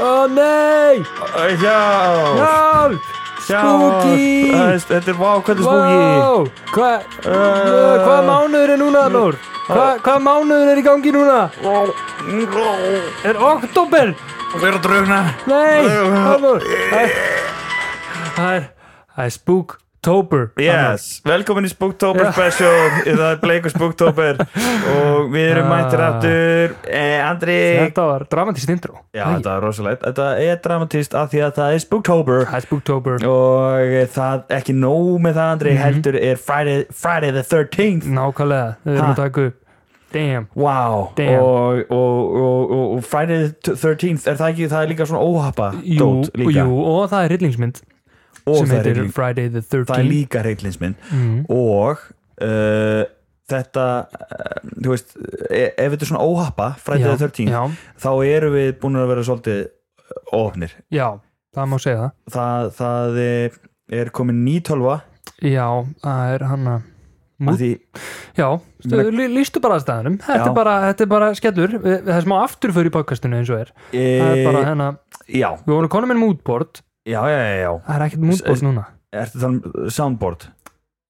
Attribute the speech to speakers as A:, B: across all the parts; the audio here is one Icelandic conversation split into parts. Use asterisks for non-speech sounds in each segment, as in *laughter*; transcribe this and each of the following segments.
A: Ó nei,
B: Já,
A: hjálp,
B: já
A: spooky
B: Það er- Þetta er vákvæmdu spooky
A: Vá, hvað
B: Eh.
A: hva mánuður er núna, Nór? Hvað hva mánuður er í gangi núna? Er oktober?
B: Við erum að draugna
A: Nei,
B: Eh.
A: Nór Það er, það er spooktober
B: Yes, velkomin í Spooktober
A: Já. *laughs*
B: special Það er bleikur Spooktober Og við
A: Ah.
B: erum mættir aftur eh, Andri
A: Þetta var dramatískt intro
B: Já,
A: Nei,
B: þetta er rosalegt Þetta er dramatíst af því að það er Spooktober
A: Það er spooktober
B: Og það, ekki nóg með það
A: Mhm.
B: Andri Heldur er Friday, Friday the 13th
A: Nákvæmlega, við erum
B: Ha.
A: að taka upp Damn
B: Wow
A: Damn.
B: og, og, og, og, og Friday the 13th Er það ekki, það er líka svona óhappa
A: Jú,
B: dót líka
A: jú, og það er rillingsmynd
B: Og
A: sem
B: það er
A: heitir
B: líka-
A: Friday the Mhm. 13th
B: það er líka reiklinsminn og uh, þetta uh, þú veist, e- ef þetta er svona óhappa fræðið
A: Já,
B: að 13,
A: já,
B: þá erum við búin að vera svolítið óhafnir
A: já, það má segja það
B: það, það er, er komin 9.12
A: Já, það er hann að Mú-
B: af því,
A: Já,
B: Meina-
A: lí- lýstu bara að staðanum þetta
B: Já.
A: er, bara, þetta er bara skellur Við- það er smá afturför í podcastinu eins og er
B: e,
A: það er bara hérna,
B: já,
A: við vorum konum með moodboard
B: já, já, já, já
A: það er ekkert moodboard
B: S-
A: núna
B: ertu það um soundboard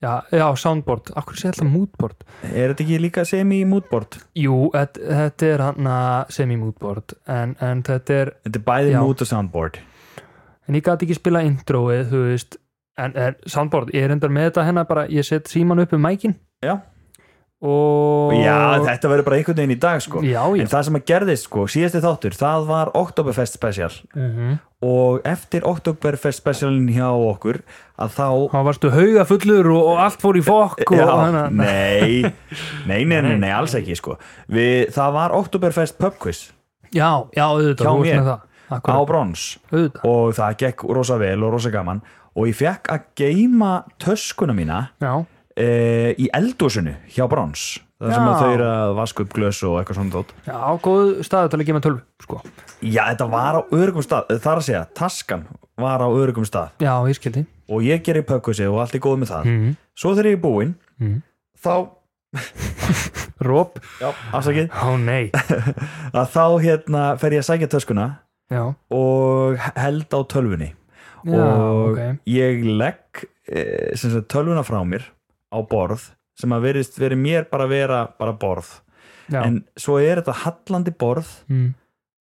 A: já, já soundboard, akkur sé alltaf moodboard
B: er þetta ekki líka semi-moodboard
A: Jú, þetta, þetta er hann að semi-moodboard en, en þetta er,
B: þetta er bæði
A: Já.
B: mood og soundboard
A: en ég gæti ekki spila introið, þú veist en, en soundboard, ég er endar með þetta hérna bara, ég set síman upp um mækin
B: Já.
A: og
B: já, þetta verður bara einhvern veginn í dag sko
A: já, já.
B: en það sem að gerðist sko, síðasti þáttur það var Oktoberfest special
A: Mhm.
B: og eftir Oktoberfest specialin hjá okkur að þá
A: þá varstu haugafullur og, og allt fór í fokk og,
B: Já,
A: og hana, *laughs*
B: nei, nei, nei, nei, nei, alls ekki sko. Við, það var Oktoberfest pub quiz
A: já, já, auðvitað,
B: Hjá
A: þú
B: mér.
A: veist með það
B: á
A: Akkurat,
B: brons
A: auðvitað,
B: og það gekk rosa vel og rosa gaman og ég fekk að geima töskuna mína
A: já,
B: e, í eldúsinu hjá brons það sem
A: Já.
B: að þau eru að vaska upp glös og eitthvað svona þótt
A: já, góð staðu til að gefa tölv, sko,
B: já, þetta var á örgum stað, Eh, þar að segja taskan var á örgum stað
A: já, ég skildi
B: og ég gerir pökkvissið og allt er góð með það
A: Mhm.
B: svo þegar ég er búinn
A: Mhm.
B: þá,
A: Róp,
B: já, afsakið
A: ó nei
B: að þá hérna fer ég að sækja töskuna
A: já,
B: og held á tölvunni
A: já,
B: og
A: ok
B: ég legg eh, sem sagt, tölvuna frá mér á borð sem að verið, verið mér bara vera bara borð
A: já,
B: en svo er þetta hallandi borð
A: mm.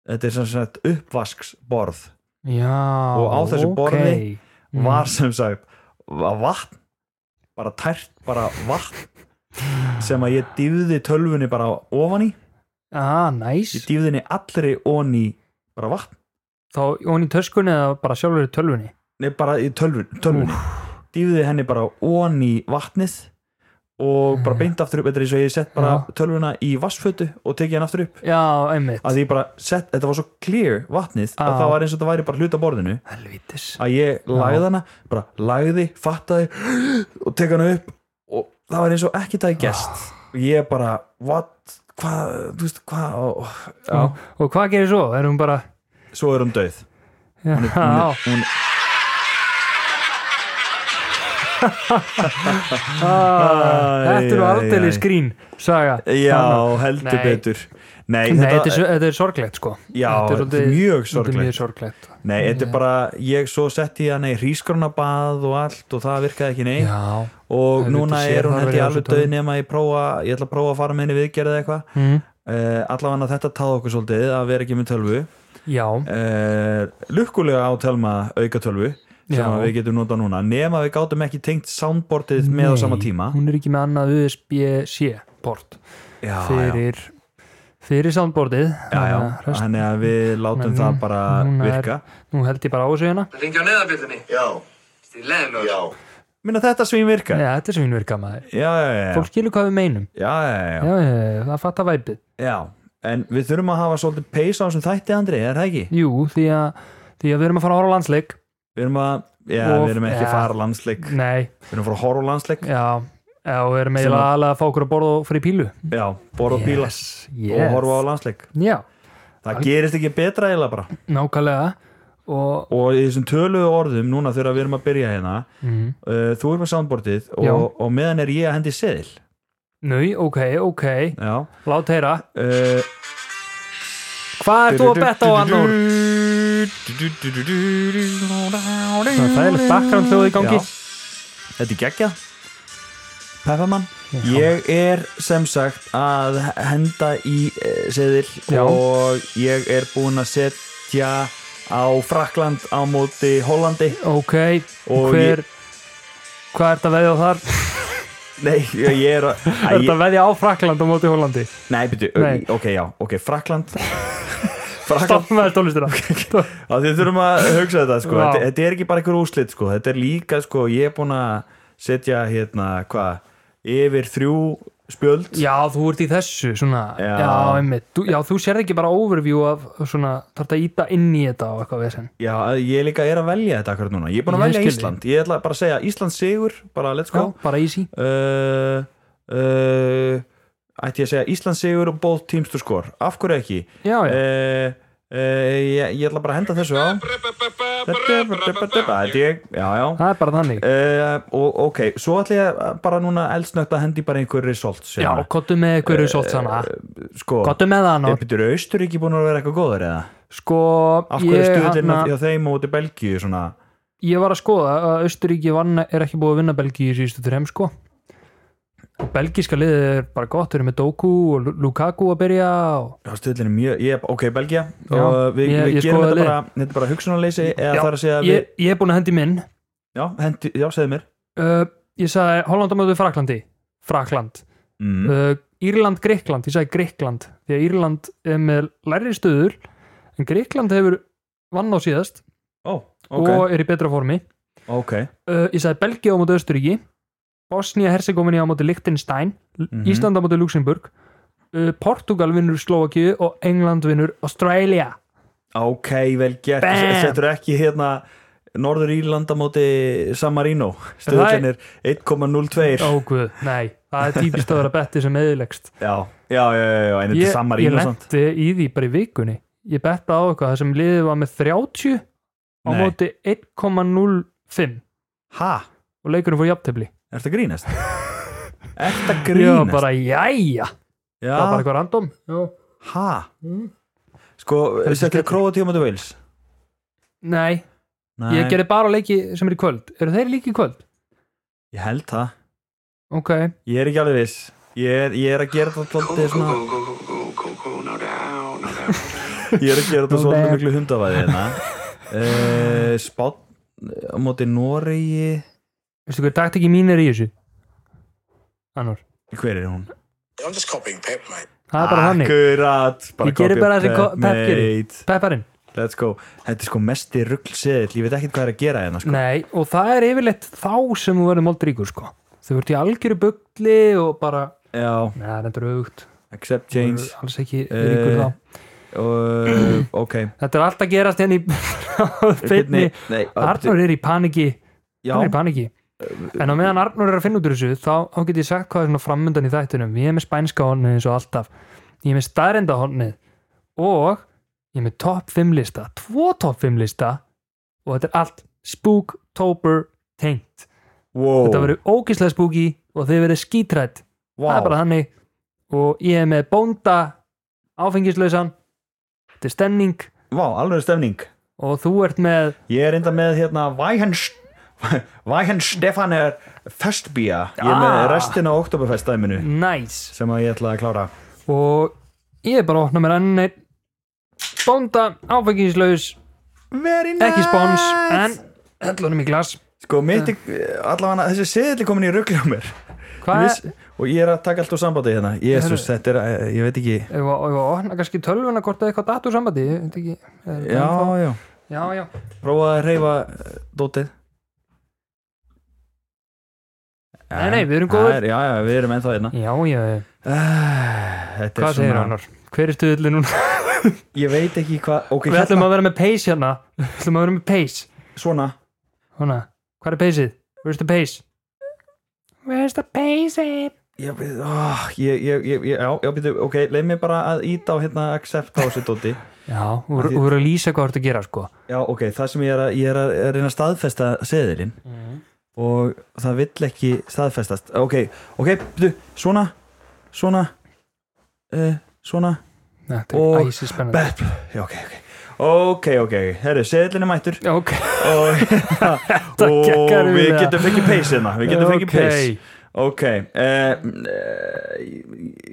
B: þetta er sem sagt uppvasksborð
A: já
B: Og á þessu
A: ok.
B: borði
A: Mm.
B: var sem sagt va- vatn bara tært, bara vatn sem að ég dýfði tölvunni bara ofan í
A: ah, næs,
B: ég dýfði henni allri ofan í bara vatn,
A: þá hún í töskunni eða bara sjálfur í tölvunni
B: nei bara í tölvun, tölvunni dýfði henni bara ofan í vatnið og bara beint aftur upp þetta er eins og ég sett bara
A: Mm. Já.
B: tölvuna í vassfötu og tekið hann aftur upp
A: já, einmitt,
B: að ég bara sett, þetta var svo clear vatnið að
A: Já.
B: það var eins og þetta væri bara hluta borðinu
A: helvitis
B: að ég lagði hana, bara lagði fattaði og tek hana upp og það var eins og ekki það gest
A: Ah.
B: og ég bara, what hvað, þú veist, hvað og- já.
A: og, og hvað gerir svo, er hún bara
B: svo er hún döið
A: já, hún
B: hún, er- hún,
A: Ah, Þetta
B: Æ,
A: eru
B: æ,
A: aldrei
B: æ.
A: skrín saga Þannig.
B: já, heldur
A: Nei.
B: betur nei,
A: Nei, þetta, er, svo- þetta er sorglegt sko
B: já,
A: þetta er svolítið-
B: mjög
A: Þetta er
B: sorglegt
A: mjög sorglegt
B: Nei, þetta er bara, ég svo setti ég hana í hrískronabað og allt og það virkaði ekki neitt
A: Já
B: og
A: helviti sé,
B: núna er hún
A: það
B: held
A: verður
B: ég alveg
A: þessu
B: döð nema ég prófa, ég ætla að prófa að fara með henni viðgerð eða eitthvað
A: mm.
B: uh, allavega þetta táði okkur svolítið að vera ekki með tölvu
A: Já,
B: uh, lukkulega á telma auka tölvu sem
A: Já.
B: að við getum notað núna nema við gátum ekki tengt soundboardið með á
A: Nei,
B: sama tíma
A: Hún er ekki með annað USB-C port
B: Ah, já, já,
A: fyrir, fyrir soundboardið
B: já, já.
A: Þannig að rest-
B: þannig að við látum
A: Nei,
B: það
A: nú-
B: bara
A: núna er-
B: virka
A: Nú held ég bara á þessu hérna
C: Ringja á neðabillunni
D: Já,
C: Í leðinlöður
D: já,
B: minna þetta svín virka
A: Nei,
B: já,
A: þetta er sem hún virka maður
B: já, já, já,
A: Fólk skilur hvað við meinum
B: já, já, já.
A: Já, já, já, það fattar væpið
B: Já, en við þurfum að hafa svolítið peysa á þessum þætti Andri, er það ekki?
A: Jú, því að, því að við erum að fara að horfa á landsleik
B: Við erum að, já,
A: Of-
B: við erum
A: ja.
B: ekki að fara á landsleik
A: Nei,
B: við erum að fara að horfa á landsleik
A: já, já við erum
B: Sem
A: eiginlega aðlega að fá okkur að borða og fyrir pílu
B: já, borða og bíla
A: yes,
B: og horfa á landsleik
A: Já,
B: það gerist ekki betra eiginlega bara
A: nákvæmlega og
B: og í þessum tölugu orðum núna þegar við erum að byrja hérna
A: mm,
B: uh, þú erum að soundboardið
A: Já.
B: og, og meðan er ég að hendi seðil
A: Nau, ok, ok,
B: já
A: lát heyra
B: uh,
A: Hvað ert þú að betta á annur?
B: Það
A: Það er þægilegt bakgrannhljóð í gangi
B: Þetta er geggja Peppamann Ég er sem sagt að henda í eh, seðil
A: Já.
B: og ég er búinn að setja á Frakland á móti Hollandi
A: Ok,
B: Og
A: hver Hvað ert að veðja á þar?
B: Nei, ég ég
A: *laughs*
B: er að Æ,
A: Ert
B: ég,
A: að veðja á Frakland á móti Hólandi?
B: Nei, byrju,
A: Nei.
B: ok, já, ok,
A: *laughs*
B: Frakland Frakland
A: Stopp með *laughs* tónlistina
B: að þið þurfum að hugsa þetta sko.
A: Vá.
B: þetta, þetta er ekki bara einhver úslit sko. þetta er líka, sko, ég er búinn að setja hérna, hvað yfir þrjú spjöld
A: Já, þú ert í þessu svona, já.
B: Já.
A: einmitt, þú, já, þú sér ekki bara overview af svona, þarf að íta inn í þetta og eitthvað vesen
B: já, að ég líka er að velja þetta akkur núna, ég er búinn
A: Ég
B: að velja
A: skil þig.
B: Ísland ég ætla bara að segja Ísland sigur, bara let's
A: já,
B: go
A: Sko, bara easy
B: uh, uh, ætti ég að segja Ísland sigur og both teams to score af hverju ekki
A: Já,
B: uh,
A: já,
B: uh, ég, ég ætla bara að henda þessu á þetta er ég, já, já
A: það er bara þannig
B: Uh, og ok, svo ætla ég að- bara núna eldsnögt að hendi bara einhver results
A: Já,
B: hérna.
A: kottu með eitthvað risótt svona
B: sko,
A: Kottu með það
B: er
A: annar
B: betur Austuríki búin að vera eitthvað góður eða?
A: Sko,
B: Af
A: ég,
B: hverju er stuðlinn
A: hana-
B: að- hjá þeim og út í Belgíu svona?
A: ég var að skoða að Östuríki vann, er ekki búið að vinna Belgíu í síðustu þrem sko og belgíska liðið er bara gott, þeir eru með Doku og Lu- Lukaku að byrja og...
B: Já, stuðlinn er mjög, ég, ok, Belgía
A: Já,
B: og við,
A: ég-
B: við
A: ég
B: gerum
A: skoðaði
B: þetta bara, þetta er bara hugsunarleysi eða
A: Já,
B: það er að segja að við,
A: ég, ég er búin að hendi minn
B: já, hendi, já, segðu mér
A: uh, ég sagði Holland á mötu Fraklandi Frakland
B: mm.
A: uh, Írland, Greikland, ég sagði Greikland því að Írland er með læri stöður en Greikland hefur vann á síðast
B: Ó, ok,
A: og er í betra formi
B: ok
A: uh, ég sagði Belgia á móti Östuríki Bosnia Herzegovina á móti Liechtenstein
B: Mhm.
A: Ísland á móti Luxemburg uh, Portugal vinnur Slovakíu og England vinnur Australia
B: Ok, vel gert,
A: Bam!
B: þetta er ekki hérna Norður Írlanda móti San Marino, stuðlinn er 1,02
A: Óguð, nei, það er típist að vera betti sem eðilegst
B: Já, já, já, já, já, en þetta er samar
A: ég
B: ína samt
A: lendi í því bara í vikunni ég betta á eitthvað það sem liðið var með 30 á
B: Nei.
A: móti 1,05
B: Hæ,
A: og leikurinn fór jafntefli
B: er þetta
A: *laughs*
B: grínast? Er
A: ég
B: þetta
A: var
B: grínast?
A: bara, jæja, það var bara
B: já,
A: eitthvað random Já.
B: hæ
A: Mm.
B: Sko,
A: Þetta er
B: settir
A: skrítið.
B: króa tíma til Wales?
A: nei,
B: Nei,
A: ég gerði bara á leiki sem er í kvöld eru þeir líki í kvöld?
B: ég held það
A: ok,
B: Ég er ekki alveg viss Ég er, ég er að gera þetta
C: Go,
B: alltaf
C: go,
B: svona
C: go, go, go, go, go, go, no down, no down.
B: Ég er að gera þetta
A: Go
B: svona
A: back.
B: miklu hundavæði hérna uh, Spán á móti Noregi
A: veistu hvað taktikki mín er í þessu? annar,
B: Hver er hún?
D: I'm just copying Pep, mate.
A: það er bara þannig
B: Akkurat bara
A: Ég geri
B: copy
A: bara
B: of
A: þessi ko- Pep gerir.
B: mate.
A: pepparinn,
B: Let's go Þetta er sko mesti ruggseðil Ég veit ekkert hvað er að gera hérna sko.
A: nei, og það er yfirleitt þá sem þú verður moldríkur sko þau verður í algjöru bugli og bara
B: Já,
A: neða, það er endur auðvögt
B: accept change
A: alls ekki
B: Eh,
A: ríkur þá
B: uh, ok
A: Þetta er allt að gerast henni *laughs* í beinni.
B: Nei, nei,
A: Arnur er í paniki
B: já,
A: Hann er í paniki En á meðan Arnur er að finna út úr þessu þá, þá get ég sagt hvað er svona framöndan í þættunum Ég er með spænska honnið eins og alltaf Ég er með staðrenda honnið og ég er með topp 5 lista Tvo topp 5 lista og þetta er allt spooktober tengt
B: wow,
A: Þetta verður ógislega spooky og þið verður skítrætt
B: wow.
A: það er bara þannig og ég er með bónda áfengislausan þetta er stemning
B: Vá, alveg stemning
A: og þú ert með
B: Ég er enda með hérna Væhen Væhen Stefan er festbía Ég er með
A: Ah.
B: restina á Oktoberfest dæminu
A: nice
B: sem að ég ætla að klára
A: og ég er bara að opna mér enn einn bónda áfengislaus
B: Very nice
A: ekki spons en hellunum í glas
B: Sko, mitt, allavega þessi seðil er komin í ruggli á mér Ég
A: hvað
B: viss- Og ég er að taka allt úr sambandi hérna Jésús, þetta er, eh, ég veit ekki
A: Ef að ef að opna kannski tölvuna hvort það er eitthvað datur sambandi ég veit ekki, er þetta
B: Já,
A: ennþá?
B: já
A: já, já,
B: eh, Prófa að reyfa dótið
A: Nei, nei, við erum góðir.
B: Já, já, við erum ennþá einna
A: Já, já, já.
B: Þetta
A: Hvað segir annar? Hver er stuðullin núna?
B: Ég veit ekki hvað Ok,
A: Við ætlum að vera með pace hérna. Við ætlum að vera með pace.
B: svona
A: Hona, hvað er paceið? Where's the pace? Where's the pace?
B: Ég, veit- oh, ég, ég, ég, ég- já, já, býtu, ok, leið mér bara að íta á hérna accept á þessu dóti
A: Já, þú voru- þú voru að lýsa hvað þú ert að gera, sko.
B: Já, ok, það sem ég er að, ég er að, er að reyna að staðfesta seðilinn
A: Mm.
B: og það vill ekki staðfestast Ok, ok, býtu, svona svona uh, svona
A: Þetta
B: Og-
A: er æsi spennandi.
B: bet, já, ok, ok Ok, ok, ok, herru, seðilinn er mættur
A: Já, ok.
B: og, og
A: gekk
B: við
A: erfiðlega.
B: getum fengið pace hérna við getum fengið
A: Ok.
B: pace ok uh, uh,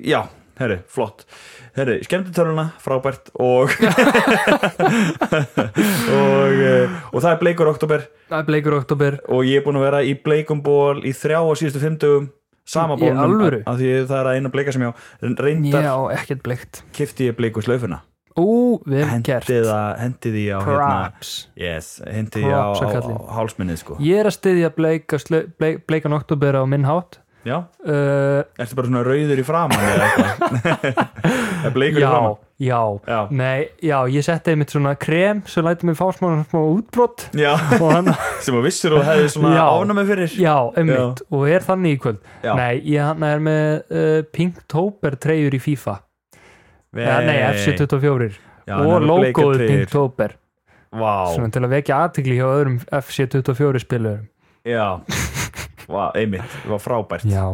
B: já, herri, flott herri, skemmtu töluna, frábært
A: *laughs*
B: og og, uh, og það er bleikur oktober
A: Það er bleikur oktober.
B: og ég er búin að vera í bleikum ból í þrjá og síðustu fimm dögum sama
A: Í
B: bólnum,
A: alvöru?
B: af því það er að eina bleika sem ég á en reyndar
A: Já, ekkert bleikt.
B: kifti ég bleiku slaufuna
A: Ú, vel gert.
B: hendi það- hendi því á hérna,
A: Props.
B: yes, hendi því á,
A: Props
B: á,
A: að
B: á,
A: kallinn.
B: hálsminnið sko
A: Ég er að styðja bleika, sle- bleik, bleikan oktober á minn hátt.
B: já,
A: Uh,
B: Ertu bara svona rauður í framan eða eitthvað?
A: *laughs*
B: Er bleikur í
A: já,
B: framan?
A: já,
B: Já.
A: Nei, já, ég setti einmitt svona krem sem læti mig fá smá, smá útbrott
B: Já,
A: og hann,
B: sem að vissur og hefði svona
A: Já.
B: ánæmi fyrir
A: *laughs* já, einmitt og er þannig í kvöld.
B: Já.
A: Nei, ég hann er með uh, Pinktober treyjur í FIFA. Nei, nei FC24
B: Já, hann er
A: og
B: með
A: logoðu
B: bleikar treyjur.
A: Pinktober
B: Vá,
A: svona til að vekja aðtigli hjá öðrum FC24 spilurum.
B: já Vá, einmitt, það var frábært
A: Já,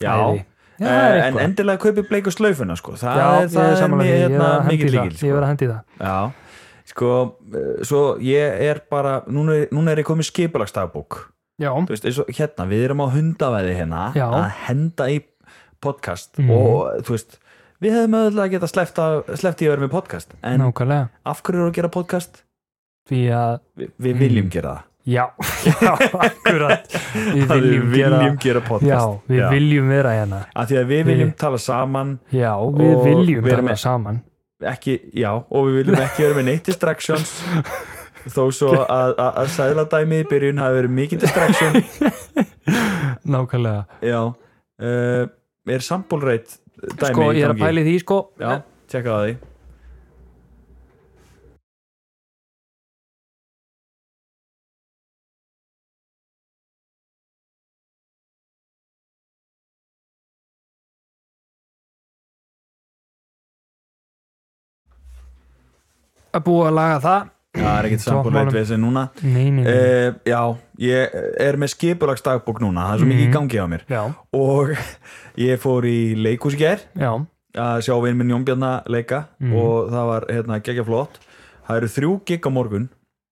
B: Já.
A: æði. Já, það er
B: Eh, En
A: eitthvað.
B: endilega kaupi bleiku slaufuna sko. Það
A: Já,
B: er,
A: ég
B: það
A: er
B: er
A: sammála
B: mér,
A: því, ég
B: hérna,
A: var að hendi
B: mikið
A: í það,
B: líkil
A: Ég var
B: sko.
A: að hendi í það.
B: Já, sko eh, Svo ég er bara Núna, er- núna er ég komið skipulagsdagbók
A: Já,
B: Þú veist, eins og hérna, við erum á hundaveði hérna
A: Já.
B: að henda í podcast
A: Mhm.
B: og þú veist, við hefðum auðvitað geta sleppt af- sleppt í að vera með podcast en
A: nákvæmlega.
B: af hverju eru að gera podcast?
A: Því að,
B: Vi, við
A: Mhm.
B: viljum gera það *laughs*
A: já, já, akkurat. Við
B: Að
A: viljum,
B: við
A: gera,
B: viljum gera, podcast
A: já, við
B: Já.
A: viljum vera hérna.
B: af því að við viljum
A: Við-
B: tala saman
A: Já, við
B: Og
A: viljum
B: vera
A: vera
B: með-
A: saman.
B: ekki, já, og við viljum ekki vera með neitt distractions þó svo að, að, að sæðladæmi í byrjun hafi verið mikið distraction
A: Nákvæmlega.
B: já, uh, er sambólreit dæmi
A: Sko,
B: í
A: ég er að
B: gangi?
A: pæli því, sko.
B: já, tjekka það því
A: Að búa að laga það. Eh,
B: Já, það er ekkert
A: Toppmálum.
B: sambúrleit við þessi núna
A: Nei, nei, nei.
B: uh, Já, ég er með skipulagsdagbók núna Það er svo
A: Mm.
B: mikið í gangi á mér
A: já,
B: Og ég fór í leikhús í gær
A: já,
B: Að sjá vinn minn Jónbjarna leika
A: Mhm.
B: Og það var hérna, geggja flott Það eru þrjú gig á morgun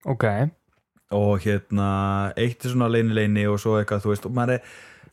A: ok.
B: Og hérna, eitt er svona leini-leini Og svo eitthvað, þú veist Og maður er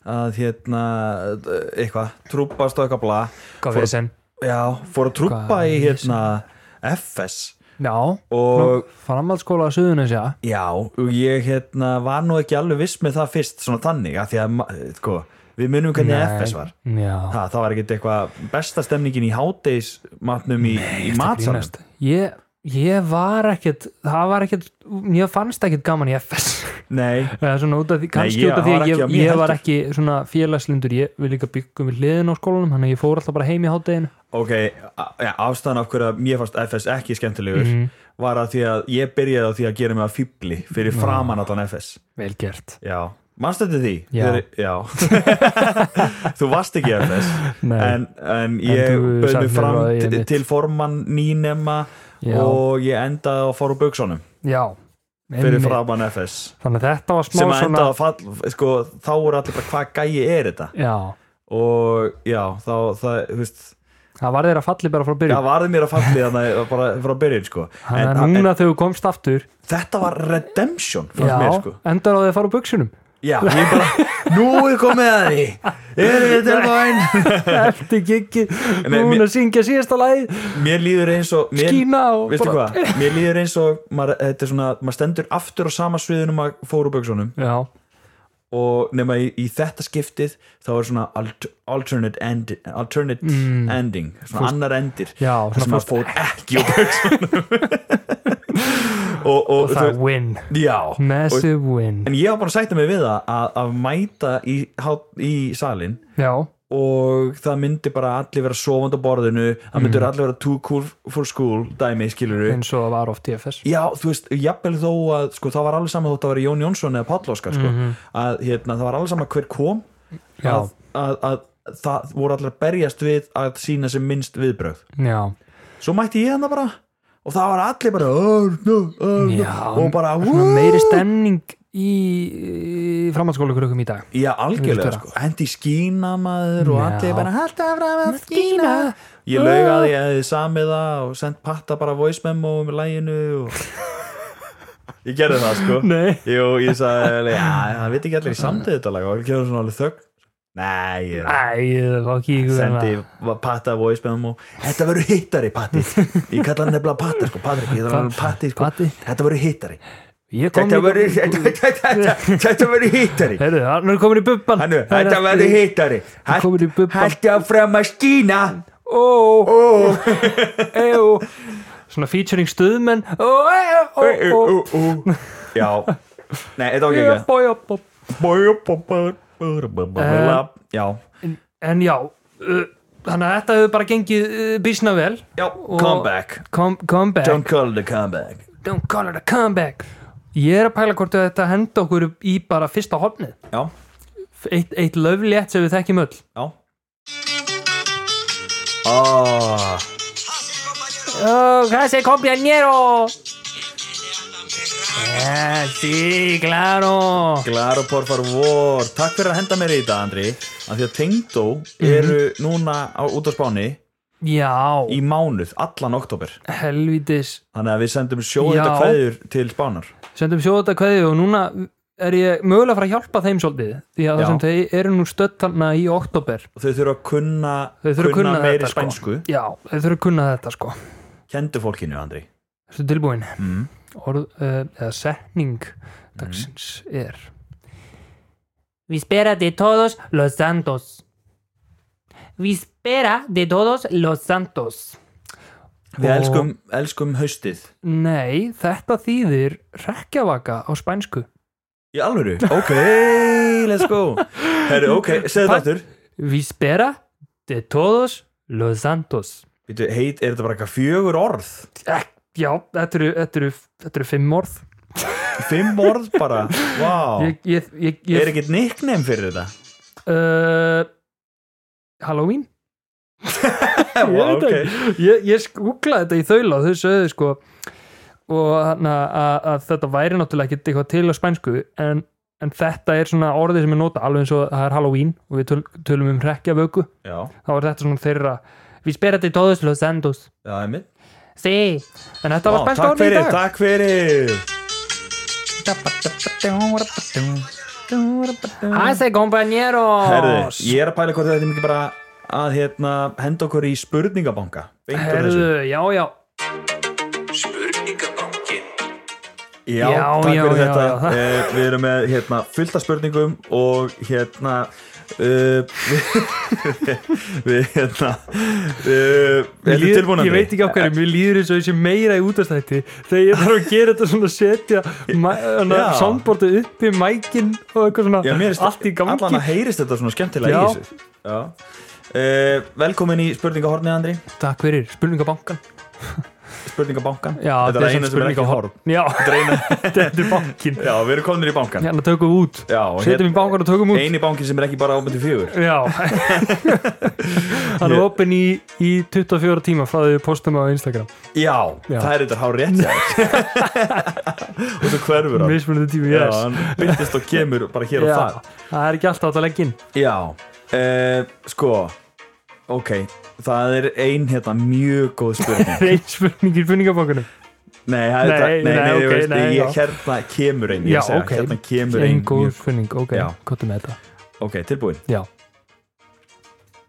B: að hérna Eitthvað, trúpast og eitthvað bla
A: Hvað
B: Fór-
A: við sem?
B: Já, fór að trúpa
A: Hvað
B: í
A: er
B: hérna FS
A: Já,
B: Og
A: og... framhaldsskóla að Suðunisja.
B: Já, og ég hérna var nú ekki alveg viss með það fyrst svona þannig að því að ma- sko, við munum hvernig FS var
A: Já.
B: ha, það var ekkert eitthvað besta stemningin í hátegismatnum í, í matsalum
A: grínast. Ég, ég var ekkert, það var ekkert, ég fannst ekkert gaman í *laughs* FS.
B: Nei,
A: Eða svona út af því, kannski
B: ég
A: út af því
B: var
A: að
B: ekki
A: ég,
B: að mér
A: ég var
B: heldur.
A: ekki svona félagslindur, ég við líka byggum við hliðin á skólanum, þannig að ég fór alltaf bara heim í hátteginu.
B: ok a- ja, ástæðan af hverju að mér fannst FS ekki skemmtilegur
A: Mhm.
B: var að því að ég byrjaði á því að gera mig að fýbli fyrir framan allan FS
A: Vel gert.
B: Já, mannstu þetta því?
A: Já.
B: Þegar- já. *laughs* Þú varst ekki FS
A: Nei.
B: en, en ég
A: þú
B: bauð
A: sagði
B: mig
A: mér
B: fram
A: að ég
B: til,
A: mitt.
B: til formann nýnema
A: Já.
B: og ég endaði að fara úr buksunum
A: Já.
B: fyrir
A: einmitt.
B: framann FS
A: Þannig að þetta var smá
B: sem að
A: svona
B: endaði að fall sko, þá voru allir bara hvað gæi er þetta
A: Já,
B: og já, þá það, þú veist,
A: það var þeirra falli bara frá byrjun
B: það varði mér að falli þannig að bara frá byrjun sko.
A: Þannig
B: en,
A: að
B: en
A: núna þegar þú komst aftur
B: þetta var redemption
A: Já,
B: fannst mér sko
A: endar á því að fara á
B: *laughs*
A: buksunum
B: Já, ég bara, nú er komið að því Erum við tilbæn
A: Eftir kikki,
B: Nei,
A: búin
B: mér-
A: að syngja síðasta lagi
B: Mér líður eins og mér,
A: Skína og
B: Veistu
A: bara-
B: hvað, mér líður eins og maður, þetta er svona, maður stendur aftur á sama sviðinu maður fór úr buksunum
A: Já,
B: og nema í, í þetta skiptið þá er svona alt, alternate, end, alternate ending svona annar endir
A: Mm. Já,
B: það sem
A: svona
B: maður fór ekki úr buksunum og, og,
A: og það Mm. er win,
B: þú- já
A: massive win
B: en ég var bara að sætta mig við það að, að mæta í, hát- í salin
A: já,
B: og það myndi bara allir vera sofandi á borðinu það
A: Mhm.
B: myndi allir vera too cool for school dæmi skilur
A: eins og var oft TFS
B: já þú veist, jafnvel þó að sko, það var alveg sama þótt að vera Jón Jónsson eða Páll Óskar sko, að hérna, það var alveg sama hver kom
A: Mhm. já,
B: að, að, að það voru allir að berjast við að sína sem minnst viðbrögð
A: já,
B: svo mætti ég hann bara og það var allir bara Arna, Arna,
A: já
B: og bara
A: svona
B: "Woo!"
A: meiri stemning í, í framhaldsskóla í dag
B: já
A: Viltu
B: algjörlega
A: vera?
B: sko. hendi skína maður og
A: Já.
B: allir bara hætti af ræða að skína ég laug að
A: Ah.
B: ég hefði samið það og sendt patta bara voice memo um læginu og...
A: *laughs*
B: ég gerði það sko
A: nei,
B: Jú, ég sagði, já, það veit ekki allir í samtíð þetta lag og ég gerði svona alveg þögn nei, ég
A: Ah. æ, þá kíkum við
B: sendi va- Patta voice memo þetta verður hittari Patti ég kalla hann nefnilega Patta sko, Patrik, ég kalla hann Patti sko,
A: Patti.
B: þetta verður hittari
A: ég kom
B: þetta
A: líka-
B: verður þetta- þetta- þetta verður hittari
A: Heyrðu, hann er komin í bubban
B: Hannu, þetta verður hittari
A: Komin í bubban.
B: hætti áfram að skína
A: Ó, ó, ó Svona featuring stuðmenn Ó, ó, ó, ó
B: Ú, ú, ú. uh, já, nei, þetta var ekki
A: Jop,
B: ekki
A: ó, jop, ó.
B: já,
A: En já uh, Þannig að þetta hefur bara gengið uh, bísna vel
B: já,
A: Og-
B: comeback
A: Com Comeback
B: don't call it a comeback
A: Don't call it a comeback Ég er að pæla hvort að þetta henda okkur í bara fyrsta hopnið
B: já,
A: Eitt, eitt löflétt sem við þekkjum öll
B: já ah
A: Oh, gracias, compañero. Yeah, sí, claro.
B: Claro, por favor Takk fyrir að henda mér í þetta, Andri af Því að Tengdó
A: Mhm.
B: eru núna á, út á Spáni
A: Já,
B: í mánuð, allan oktober
A: helvítis.
B: Þannig að við sendum sjóðenda
A: Já.
B: kveður til Spánar
A: Sendum sjóða þetta kveði og núna er ég mögulega að fara að hjálpa þeim svolítið. Því að
B: Já.
A: það sem þeir eru nú stött þarna í oktober.
B: og þau þurfa að kunna,
A: Þau þurfa að kunna
B: meiri
A: þetta, sko.
B: spænsku
A: Já, þeir þurfa að kunna þetta sko.
B: Kendu fólkinu, Andri
A: Þessu tilbúin.
B: mm.
A: Orð, uh, eða setning dagsins
B: Mm.
A: er. Vi spera de todos los santos. Vi spera de todos los santos.
B: Við
A: Og-
B: elskum, elskum haustið
A: Nei, þetta þýðir rekjavaka á spænsku.
B: Í
A: *laughs*
B: alvöru, ok, let's go Herru, ok, segðu þetta
A: Takk.
B: aftur
A: Víspera de todos los santos.
B: Býtu, heit, er þetta bara eitthvað fjögur orð?
A: Ek, já, þetta eru, þetta, eru, þetta eru fimm orð.
B: Fimm orð bara, vá
A: Ég, ég, ég, ég,
B: Er ekkert nickname fyrir þetta?
A: Uh, eh, Halloween?
B: Vá,
A: Ég veit
B: ok.
A: ekki. Ég, ég skúklaði þetta í þaula og þau sögðu sko og hann að, að, að þetta væri náttúrulega ekkert eitthvað til á spænsku en, en þetta er svona orðið sem er nota alveg eins og það er Halloween og við töl, tölum um rekjavöku
B: Já,
A: þá er þetta svona þeirra Við spera de todos los santos
B: já, ég mitt
A: Sí, en þetta var
B: Vá,
A: spænska
B: takk
A: orðið í
B: fyrir,
A: dag
B: takk fyrir
A: Hæssi
B: Herðu,
A: compañeros
B: ég er að pæla hvort þetta er mikið bara að hérna, henda okkur í spurningabanka Beint úr þessu.
A: Herðu, já, já
C: Spurningabankin.
B: Já,
A: já,
B: takk
A: já, já,
B: fyrir þetta
A: já.
B: *laughs* Eh, Við erum með hérna, fullt af spurningum og hérna uh, *laughs* við hérna uh, Þetta er
A: Líður-
B: tilbúinandi
A: Ég veit ekki á hverju, mér líður eins og þessi meira í útastætti þegar ég þarf að gera þetta svona setja
B: Já.
A: soundboardu uppi, mækin og eitthvað svona
B: Já, mér er
A: allt í gangi
B: Allan að heyrist þetta svona
A: Já.
B: skemmtilega í þessu Já uh, Velkomin í spurningahornið, Andri
A: Takk fyrir, spurningabankan
B: Spurningabankan
A: Já,
B: Þetta er eina sem er ekki horn
A: Já, *laughs* þetta er bankin
B: Já, við erum komin í bankan
A: Hérna tökum við út,
B: Já, og hérna-
A: setjum í bankan og tökum út
B: eini bankin sem er ekki bara ábænt í fjögur
A: Já *laughs* Hann er opinn í, í 24 tíma frá því við postum á Instagram
B: Já,
A: Já.
B: það er þetta hár rétt
A: *laughs*
B: hjá þér. *laughs* Og svo hverfur hann
A: Mismunandi tími,
B: Já,
A: yes
B: hann byrtist og kemur bara hér og
A: Já,
B: þar
A: það er ekki alltaf að leggja inn
B: Já, uh, sko Ok, það er ein hérna mjög góð spurning
A: *laughs* Reyn spurningir spurningabankanum
B: Nei, það er
A: Nei,
B: það- nei,
A: nei,
B: nei,
A: ok,
B: veist,
A: nei, já.
B: ég, hérna kemur ein ég
A: Já,
B: segja,
A: ok.
B: Hérna kemur ein
A: Einn góð
B: mjög,
A: spurning, ok,
B: Já.
A: gott með þetta
B: Ok, tilbúin
A: Já,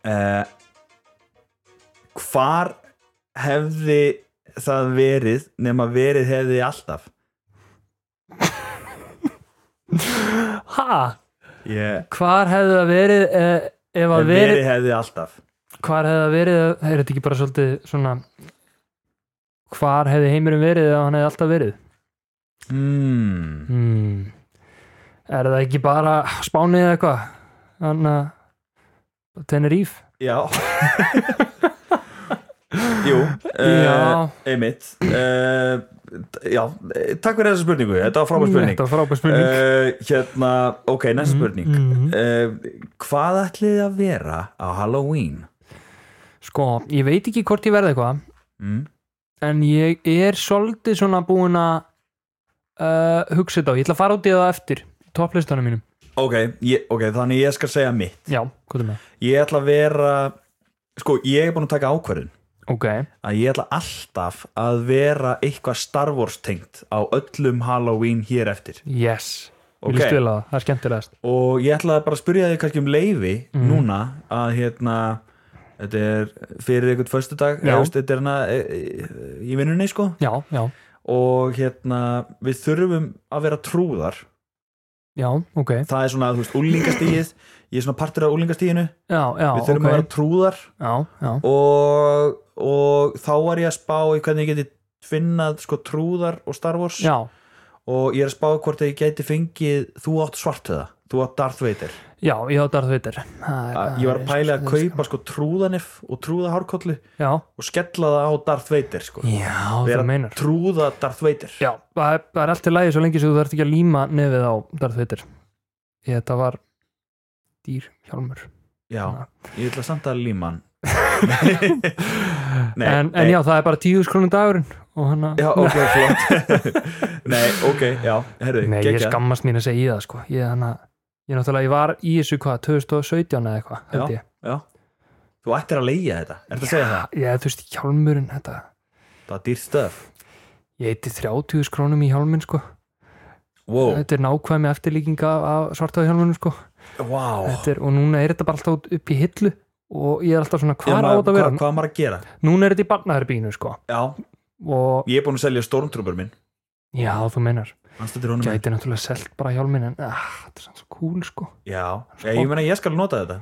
B: uh, Hvar hefði það verið nema verið hefði alltaf
A: ha,
B: yeah.
A: hvar hefði það verið eh, ef að
B: verið,
A: verið,
B: hefði alltaf
A: hvar hefði það verið er þetta ekki bara svolítið svona hvar hefði heimurinn verið ef hann hefði alltaf verið
B: mm.
A: hmm. er það ekki bara spánið eða eitthvað hann að Teneríf
B: já jú uh,
A: Já.
B: einmitt uh, já, eh, takk fyrir þessa spurningu þetta var frábæð spurning
A: þetta var frábær spurning
B: uh, hérna, ok, næsta spurning
A: Mhm.
B: uh, hvað ætlið þið að vera á Halloween
A: sko, ég veit ekki hvort ég verði eitthvað
B: mm.
A: en ég er svolítið svona búin að uh, hugsa þetta á, ég ætla að fara út í það á eftir topplistanum mínum,
B: ok, ég, ok, þannig ég skal segja mitt
A: já, hvað er með
B: ég ætla að vera sko, ég er búin að taka ákvörðin
A: ok,
B: að ég ætla alltaf að vera eitthvað Star Wars tengt á öllum Halloween hér eftir
A: yes
B: Ok.
A: vil ég spila það, það er skemmtilegast
B: og ég ætla bara að spyrja þig kannski um leifi
A: Mhm.
B: núna að hérna þetta er fyrir einhvern föstudag
A: Já.
B: eða, veist, þetta er hérna e, e, í vinnunni sko
A: já, já,
B: og hérna við þurfum að vera trúðar
A: já, ok já,
B: það er svona, þú veist, úlingastíð ég er svona partur af úlingastíðinu
A: já,
B: við þurfum
A: ok
B: að vera trúðar
A: já, já,
B: og, og þá var ég að spá í hvernig ég geti finnað sko trúðar og Star Wars
A: já,
B: og ég er að spá hvort að ég geti fengið þú átt svartöða, þú átt Darth Vader
A: já, ég átt að það veitir
B: Ah, ég var að pæla að kaupa sko trúðanif og trúða hárkollu
A: já,
B: og skella það á Darth Vader sko
A: já, það
B: vera
A: meinar
B: trúða Darth Vader
A: já, það er, það er allt í lagi svo lengi sem þú þarft ekki að líma nefið á Darth Vader ég þetta var dýr hjálmur
B: já, ég ætla samt að líma
A: *laughs*
B: hann Nei,
A: en, en
B: nei.
A: já, það er bara tíu skrónum dagurinn og hann að
B: já,
A: *laughs*
B: ok, flott *laughs* nei, ok, já, herru,
A: Nei, ég
B: geggjað.
A: skammast mín að segja það sko Ég, hana, ég náttúrulega, ég var í þessu hvað 2017 eða eitthvað, held
B: já,
A: ég
B: já þú ættir að leigja þetta, er þetta að segja það
A: Ég, þú veist, hjálmurinn, þetta
B: það er dýr stöf,
A: Ég heiti 30 skrónum í hjálminn sko
B: wow,
A: Þetta er nákvæmi eftirlíkinga af svartaði hjálmunum sko
B: wow
A: Þetta er, Og núna er þetta bara alltaf upp í hillu Og ég er alltaf svona,
B: Já,
A: hvað á
B: maður-
A: þetta að vera?
B: hvað, hvað á maður að gera
A: Núna er þetta í barnaðarbínu sko
B: já,
A: Og,
B: ég er búin að selja stormtrooper minn
A: já, þú meinar
B: Manstu eftir honum?
A: Gæti náttúrulega selt bara hjálminn En, ah, þetta er samt svo cool sko
B: já, ég, ég meina ég skal nota þetta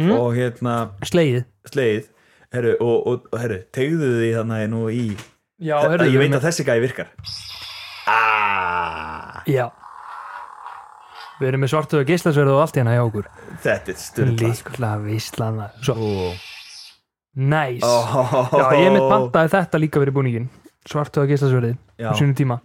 A: mm.
B: og hérna,
A: Slegið
B: sleið herru, og, og, og herru, tegðu því þannig nú í
A: Já,
B: Þe-
A: heyrðu,
B: ég veit
A: við-
B: að þessi gæði virkar Ah, aaaah
A: Já Við erum með svartöðu geislasverðu og allt hérna hjá okkur
B: þetta er styrla
A: Líkla veislana sko. Svo,
B: oh.
A: næs Já, ég er mitt pantaði þetta líka verið búningin Svartöðu geislasverði
B: Já.
A: á sínum tíma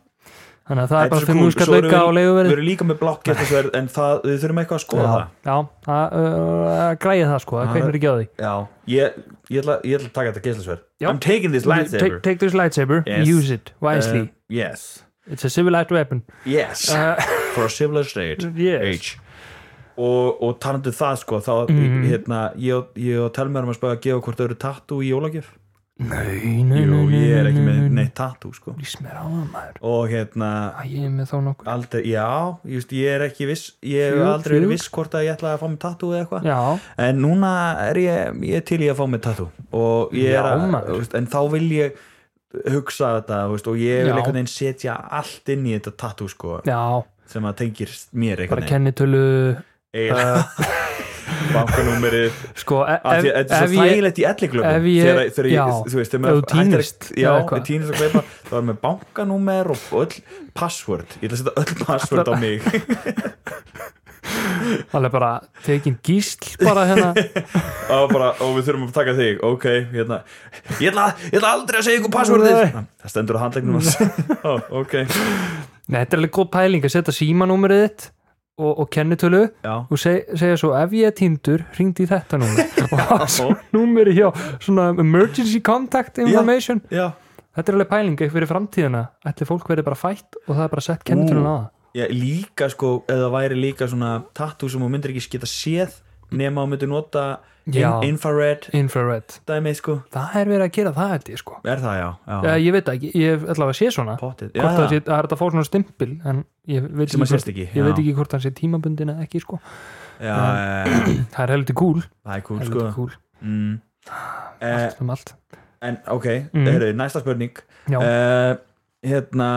A: Þannig að það er
B: Þetta
A: bara
B: er svo
A: fimm
B: cool.
A: múskall
B: Svo erum
A: auka á
B: við- við
A: leiguverði
B: erum líka með blokk gestasverð, en það, við þurfum eitthvað að skoða
A: Já, já,
B: það
A: það uh, græði það sko, það
B: Já,
A: kveiknir ekki á því
B: Já, ég, ég, ætla, ég ætla að taka þetta geislasverð
A: Já.
B: I'm taking this lightsaber
A: take, take this lightsaber,
B: Yes.
A: use it wisely
B: Uh, Yes,
A: It's a civilized weapon
B: yes
A: uh,
B: For a civilized state
A: *laughs* yes.
B: Age Og, og talandi um það sko þá,
A: Mhm.
B: hérna, ég, og- ég og Telma erum að spöga að gefa hvort þau eru tattoo í jólagjöf
A: Nei, nei,
B: Jú,
A: nei, nei,
B: ég er ekki
A: nei,
B: með
A: nei, nei.
B: neitt tattoo sko
A: Lýs mér á það maður
B: Og hérna,
A: Æ, ég er með þá nokkur
B: aldrei, já, just, ég er ekki viss Ég hef
A: Fjúk,
B: aldrei verið
A: fjúk.
B: viss hvort að ég ætla að fá mig tattoo eða eitthvað
A: Já,
B: En núna er ég, ég er til í að fá mig tattoo og ég er
A: Já,
B: að,
A: maður.
B: þú veist, en þá vil ég hugsa þetta þú veist, og ég vil
A: Já.
B: einhvern veginn setja allt inn í þetta tattoo sko,
A: já,
B: sem að tengir mér
A: bara
B: einhvern veginn
A: kennitölu
B: eiginlega *laughs* bankanúmerið
A: sko, e-
B: Af
A: Ah. ef,
B: því að þetta er
A: ef
B: svo
A: ég
B: þægilegt í elliklöfum
A: ef ég-
B: þegar, þegar
A: já,
B: ég, þú veist, þegar
A: ef þú
B: maður hættir að-
A: týnist
B: já,
A: eða eitthvað.
B: við týnist að gleypa þá erum við bankanúmer og öll password ég ætla að setja öll password á mig *laughs*
A: alveg bara tekin gísl bara
B: *laughs*
A: hérna
B: og, bara, og við þurfum að taka þig ok, hérna ég ætla, ég ætla aldrei að segja ykkur passwordið
A: Nei.
B: það stendur á handlegnum
A: *laughs*
B: hans Ó, ok,
A: Nei, þetta er alveg góð pæling að setja símanúmerið þitt og, og kennitölu
B: já
A: og seg, segja svo ef ég er týndur hringdi í þetta
B: *laughs*
A: númer og hafa svo númeri hjá svona emergency contact information
B: já,
A: þetta er alveg pæling fyrir framtíðina ætli fólk verið bara fætt og það er bara sett kennitölun á það
B: já, líka sko eða væri líka svona tattoo sem hún myndir ekki geta séð nema hún myndir nota in,
A: Já.
B: infrared
A: infrared,
B: dæmi sko
A: það er verið að gera það held ég sko
B: er það já, já,
A: Eh, ég veit það ekki, ég hef allavega sé svona
B: pottið
A: hvort það sé,
B: já,
A: það er þetta að fá svona stimpil en ég veit
B: Sem að
A: ekki,
B: sést ekki,
A: hvort- ég veit
B: já.
A: ekki hvort hann sé tímabundin eða ekki sko
B: *clears throat* já, já, já,
A: það er heldur kúl,
B: það er cool sko
A: heldur kúl
B: mm. eh,
A: allt um allt
B: en ok,
A: Mm.
B: mm. heyrðu, næsta spurning
A: Já.
B: uh, hérna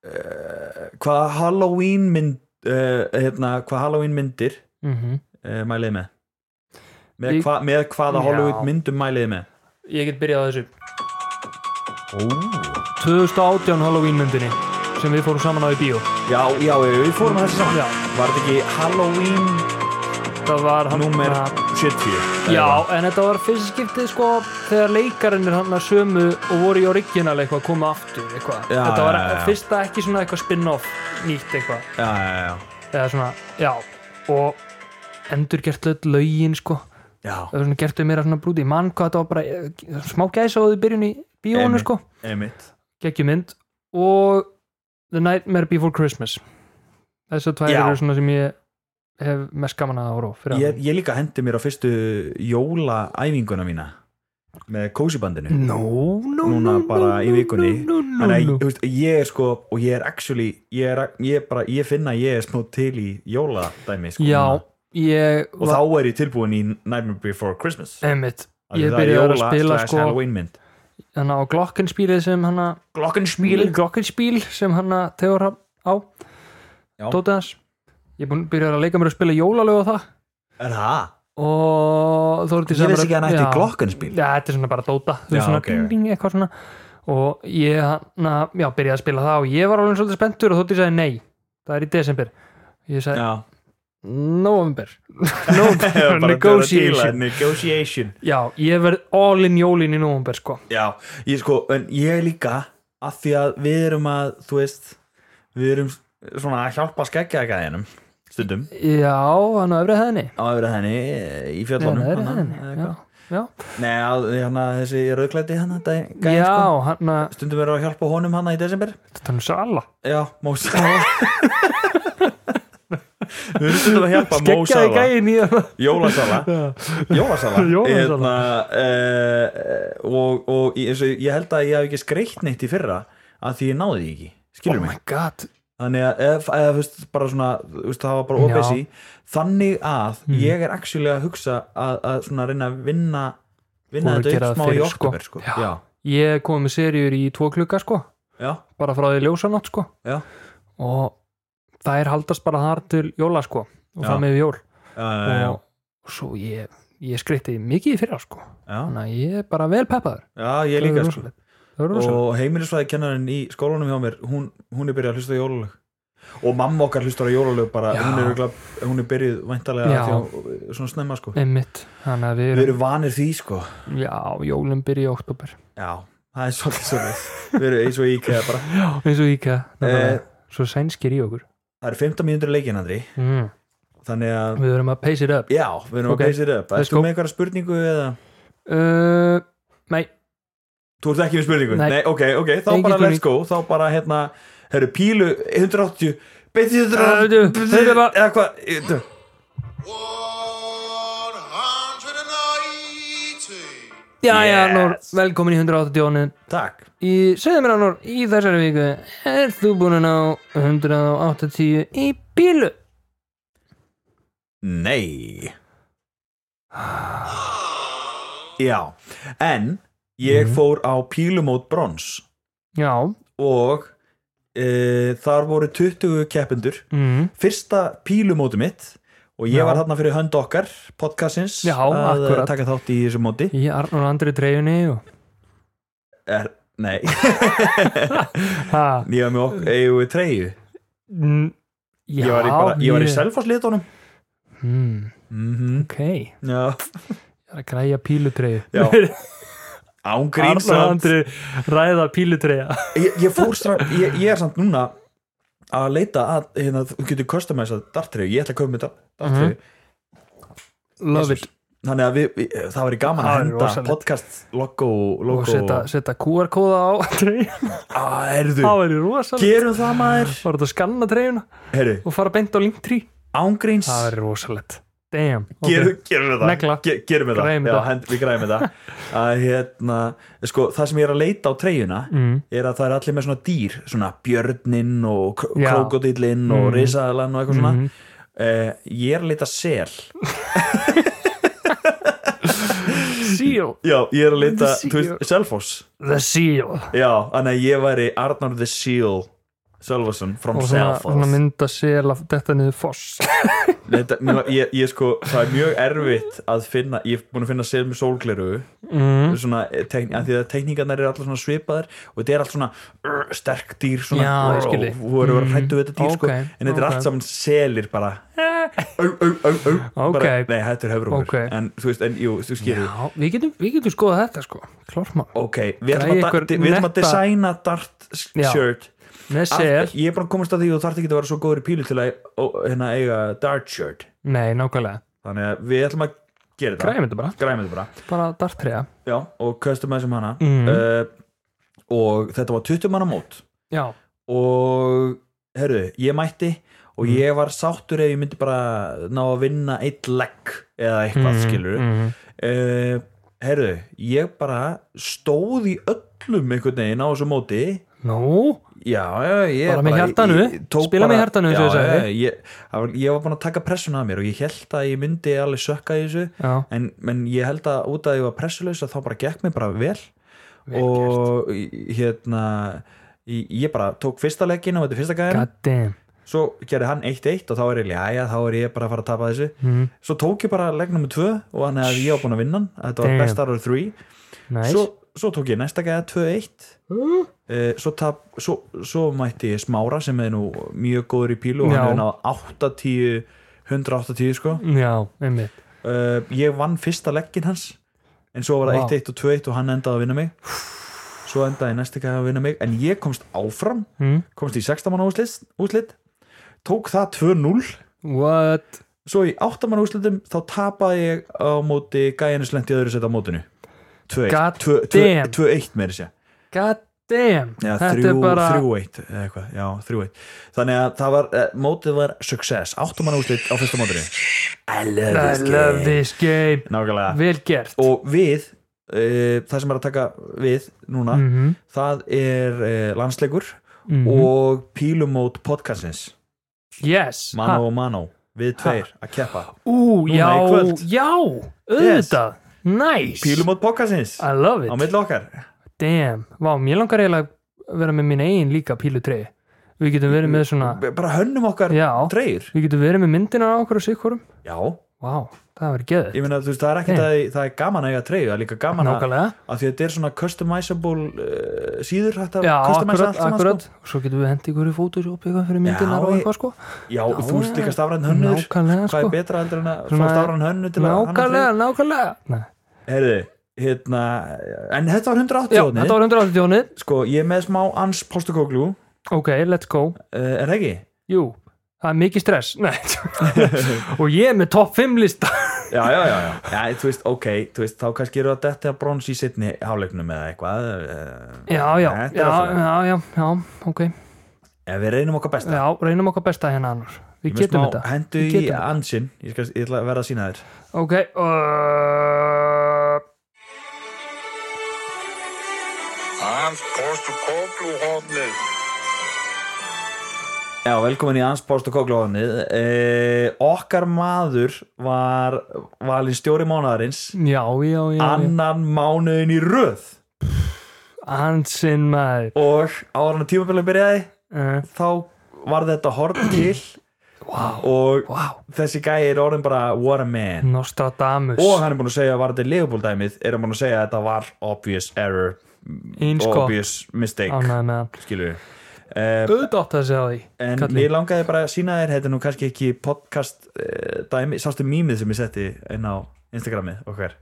B: uh, hvaða Halloween mynd uh, hérna, hvaða Halloween myndir
A: mm
B: uh, mæliði með með,
A: Ég-
B: hva, með hvaða
A: Já.
B: Halloween myndum mæliði með
A: ég get byrjað á þessu
B: Ó.
A: 2018 Halloween myndinni sem við fórum saman á í bíó
B: Já, já, já, við fórum að þessi saman
A: Já.
B: Var þetta ekki Halloween
A: það var hann
B: númer
A: að-
B: 70?
A: já, en þetta var fyrst skiptið sko þegar leikarinnir hann að sömu og voru í original eitthvað að koma aftur eitthvað,
B: Já,
A: þetta var
B: já, já, já.
A: fyrsta ekki svona eitthvað spin-off nýtt eitthvað,
B: Já, já, já
A: eða svona, já og endur gert löð lögin sko,
B: Já,
A: það var svona gert við meira svona brúti, mann hvað þetta var bara eh, smá gæsaðuð í byrjun í bíónu
B: Einmitt.
A: sko
B: einmitt
A: geggjumynd og The Nightmare Before Christmas þessar tvær
B: Já.
A: eru svona sem ég hef mest gaman að ára fyrir
B: ég, ég líka hendi mér á fyrstu jólaæfinguna mína með kósibandinu
A: no, no,
B: Núna
A: no,
B: bara
A: no,
B: í vikunni.
A: no, no,
B: Þannig að
A: no,
B: þú
A: no.
B: veist, ég er sko og ég er actually ég, er, ég, er bara, ég finna að ég er smá til í jóladæmi sko,
A: já,
B: núna.
A: ég
B: og þá er ég tilbúin í Nightmare Before Christmas
A: emitt,
B: Af því
A: ég
B: það er
A: byrjaði að
B: jóla
A: spila
B: slash
A: sko
B: Halloween mynd
A: hann á glokkinspílið sem hann að
B: Glockenspiel
A: glokkinspíl sem hann að tegur hann á
B: Já.
A: tótið hans ég búin, byrjaði að leika mér að spila jólalög á það
B: Er það?
A: og þó er þetta
B: Ég veist ekki að hann ætti Glockenspiel
A: Já, þetta er svona bara dóta þú
B: Já,
A: veist svona
B: ok,
A: ding,
B: ok.
A: ding, eitthvað svona og ég hana, já, byrjaði að spila það og ég var alveg svolítið spenntur og þótti ég sagði nei það er í desember ég sagði
B: Já, *laughs*
A: november november,
B: Bara til að
A: negotiation
B: díla, Negotiation
A: já, ég verð all in jólin í november sko
B: Já, ég sko, en ég líka af því að við erum að, þú veist við erum svona að hjálpa skeggjaðgæðinum stundum
A: já, hann á öfrið henni
B: á öfru henni eh, í
A: hann
B: fjöllunum
A: á öfrið
B: hana,
A: henni
B: eða
A: já,
B: eitthvað.
A: já,
B: Nei, að- hana, þessi rauðklæti hana dag- gæinn,
A: já
B: sko.
A: hann að
B: stundum erum við að hjálpa honum hana í desember
A: þetta er hann sala
B: Já, Mósa *laughs* Við erum stundum að hjálpa Mósa
A: skeggjaði gæin í hann
B: Jólasala Jólasala
A: *laughs* Jólasala.
B: uh, Hérna, og, og ég, eins og ég held að ég hef ekki skreitt neitt í fyrra að því ég náði því ekki skilur
A: oh
B: mig
A: my god
B: þannig að ef, ef, þú veist, bara svona, þú veist, það var
A: Já.
B: bara
A: Hmm.
B: opesi þannig að ég er actually að hugsa að, að svona reyna að vinna
A: Voru
B: vinna
A: að
B: þetta
A: gera
B: upp
A: það
B: smá í
A: fyrir, sko.
B: oktober sko.
A: Já.
B: Já.
A: ég kom með seriur í tvo klukka sko
B: Já.
A: bara frá því ljósanátt sko
B: Já.
A: og þær haldast bara þar til jóla sko og
B: Já.
A: það með jól
B: Já, já, já,
A: og svo ég, ég skreitti mikið í fyrra sko
B: já.
A: þannig að ég er bara vel peppaður
B: já, ég líka sko.
A: það er rosalegt
B: og heimilisfræði kennarinn í skólanum hjá mér hún, hún er byrjað að hlusta á jólalög og mamma okkar hlustar á jólalög bara,
A: Já.
B: hún er, örugglega- hún er byrjuð væntalega
A: Já.
B: svona snemma sko
A: einmitt, þannig að við
B: við
A: erum
B: erum vanir því sko
A: já, jólum byrja í oktober
B: já, það er svolítið svolítið við erum eins og íkæða bara
A: eins og íka,
B: Eh.
A: svo sænskir í okkur
B: það eru 15 mínútur leikin Andri
A: mm.
B: þannig að,
A: við erum að pace it up
B: já, við erum
A: Ok.
B: að pace it up
A: Let's
B: Ertu
A: go.
B: með einhverja spurningu eða
A: uh, nei,
B: þú ert ekki með spurningu,
A: Nei.
B: nei, ok, ok þá
A: Engin
B: bara
A: spurning.
B: let's go, þá bara hérna herru, pílu 180 beintið
A: Eh, veitu,
B: 180
A: þetta var-
B: eða hvað,
D: 180.
A: já, já,
B: Yes.
A: Nór, velkomin í 180
B: takk
A: í, segðu mér Arnór, í þessari viku er þú búin að ná 180 í bílu
B: Nei Já, en ég
A: Mhm.
B: fór á pílumót brons
A: já,
B: og e, þar voru 20 keppendur
A: mm.
B: fyrsta pílumóti mitt og ég
A: Já.
B: var þarna fyrir hönd okkar podcastins
A: Já,
B: að
A: akkurat.
B: taka þátt í þessu móti
A: í Arnór Andri treyjunni og...
B: er, Nei,
A: ha,
B: ég var með
A: *laughs*
B: okkur eigum við treyju
A: mm, já,
B: Ég var í, bara- ég var í selfarslitunum
A: mm,
B: mm
A: ok, ég
B: Já,
A: er að græja pílutreyju *laughs*
B: Já.
A: Arnór
B: ángrínsand
A: Andri ræða pílutreyja
B: ég, ég fór strax, ég, ég er samt núna að leita að hérna, þú getur customizað dartreyju, ég ætla að köpa með dartreyju
A: Mhm, love it
B: þannig að við, við, það væri gaman að
A: Það er
B: henda
A: rosalegt.
B: podcast logo,
A: og
B: logo.
A: setja, setja QR-kóða á treyju
B: ah, herðu,
A: það er rosalegt
B: gerum það maður
A: var þetta að skanna treyjuna
B: herru,
A: og fara beint á linktrý
B: ángríns
A: það er rosalegt damn, ok,
B: gerum, gerum við
A: Negla.
B: það, Ge, gerum við það.
A: Græjum
B: Já,
A: þetta.
B: hend, við græðum þetta að, hérna, sko, það sem ég er að leita á treyjuna
A: Mm.
B: er að það er allir með svona dýr svona björninn og
A: Já.
B: krokodillinn og
A: Mhm.
B: risaðalann og eitthvað svona
A: Mhm.
B: Eh, ég er að leita sel
A: seal
B: Já, ég er að leita,
A: The Seal.
B: þú veist, Selfoss
A: the seal
B: Já, þannig að ég væri Arnar the Seal Sölvason from
A: og svona, svona
B: Selfoss
A: mynda sel af þetta niður foss
B: Þetta- mér la- ég, ég sko, það er mjög erfitt að finna, ég er búin að finna sér með sólgleru
A: mm.
B: svona, eh, tekni, að því að tekníkarnar eru allar svona svipaðar og þetta er allt svona uh, sterk dýr svona,
A: Já, ég skil þig.
B: og þú eru að
A: Mm.
B: hrættu við þetta dýr
A: Ókei,
B: sko, en þetta er
A: ókei.
B: allt saman selir bara eh, au, au, au, au, bara,
A: Ókei.
B: nei, þetta er höfrungur
A: Ókei.
B: en þú veist, en jú, þú skilur
A: Já, við getum, við getum skoðað þetta sko klármál,
B: ok, við ætlum
A: Græja
B: að,
A: ykkur
B: da- við ætlum að
A: netta-
B: designa dart s-
A: Já.
B: shirt
A: með sel
B: Allt- ég er bara að komast að því að þú þarft ekki að vera svo góður í pílu til að ó, hérna, eiga dart shirt
A: nei, nákvæmlega,
B: þannig að við ætlum að gera þetta
A: græmið þetta bara
B: græmið þetta bara
A: bara dartriða,
B: Já, og customizeum hana
A: Mhm.
B: uh, og þetta var 20 manna mót
A: já,
B: og herru, ég mætti og
A: Mm.
B: ég var sáttur ef ég myndi bara ná að vinna eitt legg eða eitthvað mm. skilur
A: mm.
B: herru, ég bara stóð í öllum einhvern veginn á þessu móti
A: nú
B: já, já, ég
A: Bara með hjartanu,
B: ég tók
A: spila með hjartanu, eins
B: já,
A: og ég sagði.
B: já, ég, það var- ég var búin að taka pressuna að mér og ég held að ég myndi alveg sökka í þessu
A: já,
B: en, en ég held að út að ég var pressulaus að þá bara gekk mér bara vel,
A: Vel
B: og hérna ég ég bara tók fyrsta leggin og þetta er fyrsta gæðin
A: god damn
B: svo gerði hann 1-1 og þá er ég jæja, þá er ég bara að fara að tapa þessu
A: mm.
B: svo tók ég bara legg nummer 2 og hann hefði ég á búin að vinna hann. þetta var
A: Damn.
B: best out of 3
A: nice.
B: svo, svo tók ég næsta gæða 2-1 Eh, svo, tap, svo, svo mætti ég Smára sem er nú mjög góður í pílu og
A: Já.
B: hann hefði náð 8-10 180 sko
A: já, einmitt
B: uh, ég vann fyrsta leggin hans en svo var það
A: Vá.
B: 1-1 og 2-1 og hann endaði að vinna mig svo endaði næsti gæði að vinna mig en ég komst áfram,
A: mm.
B: komst í 16 manna úslit, úslit tók það 2-0
A: what,
B: svo í 8 manna úslitum þá tapaði ég á móti gæðinu slendi öðru setja á mótinu 2-1
A: God
B: 2-1
A: damn.
B: 2-1 með þessi
A: god damn
B: Já,
A: þetta
B: þrjú,
A: er bara
B: þrjú eitt eða eitthvað, já, þrjú eitt Þannig að það var, eh, mótið var success Áttamann úrslit á fyrsta mótinu I love
A: I
B: this
A: love
B: game
A: this game Ah.
B: Nákvæmlega
A: vel gert
B: og við uh, það sem er að taka við núna
A: Mhm,
B: það er uh, landsleikur
A: mhm.
B: og pílumót podcastins
A: yes, ha,
B: Mano og Mano, við tveir að keppa
A: ú,
B: Núna
A: já,
B: í kvöld.
A: já auðvitað, nice
B: pílumót podcastins
A: I love it
B: á milli okkar
A: Damn, vá, mér langar eiginlega að vera með minn eigin líka pílutrei Við getum verið með svona
B: B- bara hönnum okkar
A: Já,
B: treyr
A: við getum verið með myndina á okkur og sikkurum
B: já,
A: Vá, það verið geðið
B: ég meina þú veist það er ekkert
A: Nei.
B: að það er gaman að eiga treyr það er líka gaman að,
A: Nákvæmlega,
B: að því að þetta er svona customizable uh, síður hægt að
A: já,
B: customize
A: akkurat,
B: allt saman,
A: akkurat
B: sko.
A: Og Svo getum við hendi ykkur í Photoshop eitthvað fyrir myndina og
B: ég-
A: eitthvað sko
B: já,
A: Já,
B: þú ert líka stafræn hönnur
A: Nákvæmlega,
B: hvað er
A: sko
B: betra heldur en að fá
A: Svona-
B: stafræn hönnur til að hanna treyju?
A: Nákvæmlega, nákvæmlega Nei.
B: Herðu, hérna En þetta var 180
A: Já,
B: hóðni
A: þetta var 180 tjónið
B: Sko, ég er með smá ans postukóklu uh,
A: Ok, let's go
B: Er það ekki?
A: Jú, það er mikið stress *laughs*
B: *laughs*
A: Nei Og ég er með topp 5 lista
B: Já, já, já, já Já, þú veist, ok, þú veist, þá kannski eru að detta brons í sittni háleiknum eða eitthvað eh,
A: Já, já, já,
B: Þetta er allt í lagi.
A: já, já, já, ok
B: En við reynum okkar besta
A: Já, reynum okkar besta hérna annars Við
B: Ég með
A: getum
B: smá
A: þetta
B: Hendu
A: Við
B: í
A: getum þetta.
B: ansinn Ég skal ég ætla að vera að sína þér
A: Ok uh,
D: Hans Postukoglu hornið.
B: Já, velkomin í ans postukóklu hóðni Okkar maður var valinn stjóri mánaðarins
A: Já, já, já, já.
B: Annan mánuðin í röð
A: Hansinn maður
B: Og áður en að tímabilið byrjaði
A: uh,
B: þá var þetta horn til
A: Vá,
B: og
A: vá
B: þessi gæi er orðin bara what a man
A: Nostradamus
B: og hann er búin að segja að var þetta Liverpool dæmið er hann búin að segja að þetta var obvious error
A: Einskott.
B: obvious mistake
A: Ánægð sko. með hann
B: skilur við
A: Auðvitað átt að segja því
B: en
A: Kalli.
B: ég langaði bara að sína þér þetta er nú kannski ekki podcast uh, dæmi, sástu mýmið sem ég setti inn á Instagramið okkar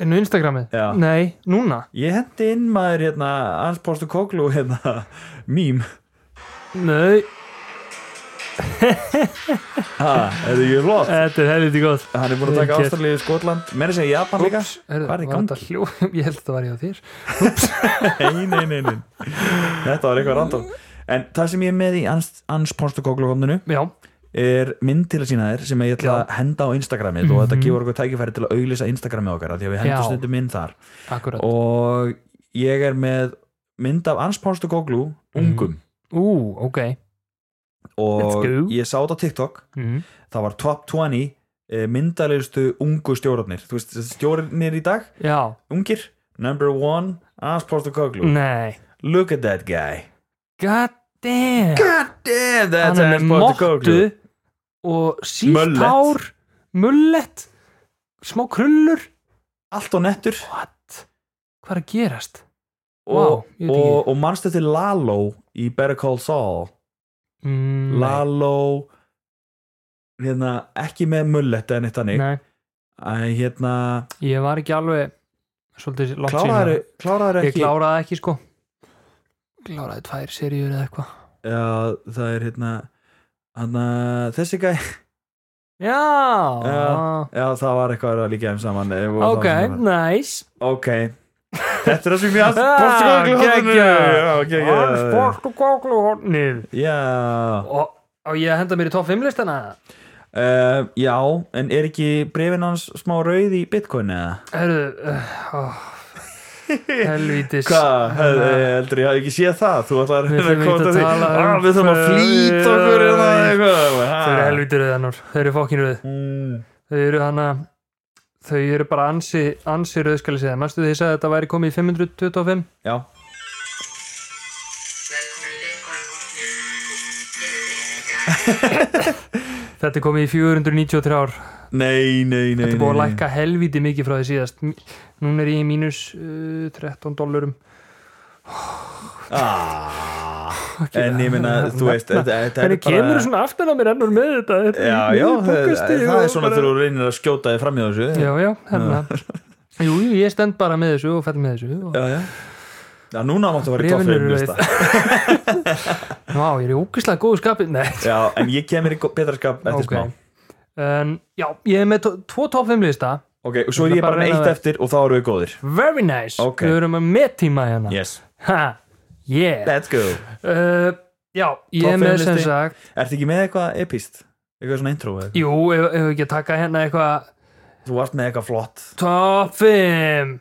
A: Enn á Instagramið?
B: Já.
A: Nei, núna
B: ég hendi inn maður hérna hans postu kóklu hérna mým
A: Nei,
B: ha, er það ég flott
A: þetta er helviti gott
B: hann er búin að
A: Eh,
B: taka
A: Vel gert.
B: ástralíu Skotland meira að segja Japan líka
A: Heyrðu,
B: hvað er í
A: var þetta
B: gangi?
A: hljó? *laughs* Ég held að það var ég á þér
B: nei, nei, nei, nei. þetta var eitthvað random en það sem ég er með í ansponstukoklukomninu
A: Já,
B: er mynd til að sína þér sem ég ætla
A: Já. Mhm.
B: að henda á Instagramið og þetta gefur okkur tækifæri til að auglýsa Instagramið okkar af því að við hendum
A: Já.
B: stundum mynd þar
A: akkurat
B: og ég er með mynd af ansponstukoklu ungum
A: Ú, ok Mhm. Let's go.
B: og ég sá þetta á TikTok
A: mm.
B: það var top 20 eh, myndalegustu ungu stjórnir þú veist, stjórnir í dag,
A: Já,
B: ungir number one, ansponstukoklu
A: nei
B: look at that guy
A: God damn
B: God damn, that's
A: hann er með
B: Hans Potter
A: mottu og sítt
B: Mullet.
A: hár mullet smá krullur
B: Allt og nettur
A: what? hvað er að gerast? Vá,
B: og,
A: ég veit
B: og,
A: ekki.
B: og manstu til Lalo í Better Call Saul
A: Mm, nei,
B: Lalo hérna, ekki með mullet en eitt hannig
A: nei,
B: að hérna
A: ég var ekki alveg svolítið langt
B: kláraður kláraður
A: ég
B: ekki
A: kláraði ekki sko kláraði tvær seríur eða eitthvað
B: Já, það er hérna hana, þessi gæ
A: já,
B: Já. Já, það var eitthvað að líka þeim saman eh, og
A: ok,
B: það var-
A: nice
B: Ok Þetta er það sem ég hans
A: *laughs* Ah, geggjað. Hans
B: Bortskóðglóðinu
A: Portugálgluhornið
B: Já
A: og, og ég að henda mér í top 5 listana
B: Eh, Já, en er ekki brefin hans smá rauð í bitcoin eða?
A: herru *laughs* uh, helvítis
B: Hvað, hefði- heldur ég hafði ekki séð það Þú ætlar
A: Við
B: að
A: þurfum ekki
B: koma til
A: að
B: því
A: tala um-
B: Ah, Við þurfum að flýta okkur hérna, eitthvað.
A: þau eru helvítir rauðanar, þau eru fokkin rauð
B: Mm.
A: þau eru hana þau eru bara ansi, ansi rauð skal ég segja mæstu því að þetta væri komið í 525
B: Já,
A: þetta er komið í 493 ár
B: nei, nei, nei
A: þetta er búið að
B: nei, nei.
A: lækka helvíti mikið frá því síðast M- núna er ég í mínus uh, 13 dollurum
B: Ah, en ég minna, þú veist þetta- þetta er
A: hvernig kemur svona aftan á mér ennur með þetta Þetta er
B: já,
A: í
B: já,
A: miðju
B: það,
A: podcasti
B: það er
A: og
B: svona
A: bara-
B: þegar þú reynir að skjóta þig fram í þessu
A: já, já, hérna jú, jú, ég stend bara með þessu og fell með þessu og...
B: já, já. já núna máttu að vera í
A: Bréfin eru
B: toffleinlista
A: Vá, ég er í ógislega góðu skapi Nei,
B: já, en ég kemur í go- betra skap eftir
A: ok en, Já, ég er með to- tvo top 5 lista
B: smá ok, og svo
A: Ég
B: er
A: ætla
B: ég
A: bara
B: bara
A: að
B: með
A: reyna
B: eitt
A: að-
B: eftir og þá eru við góðir
A: Very nice,
B: Ok.
A: við erum að mettíma hérna
B: yes,
A: Ha, yeah
B: let's go
A: uh, Já, ég
B: Top
A: er
B: 5
A: með sem
B: listi.
A: sagt
B: ertu ekki með eitthvað epist? eitthvað svona intro eða? eitthvað?
A: Jú, ef, ef ekki að taka hérna eitthvað
B: þú varst með eitthvað flott
A: Top 5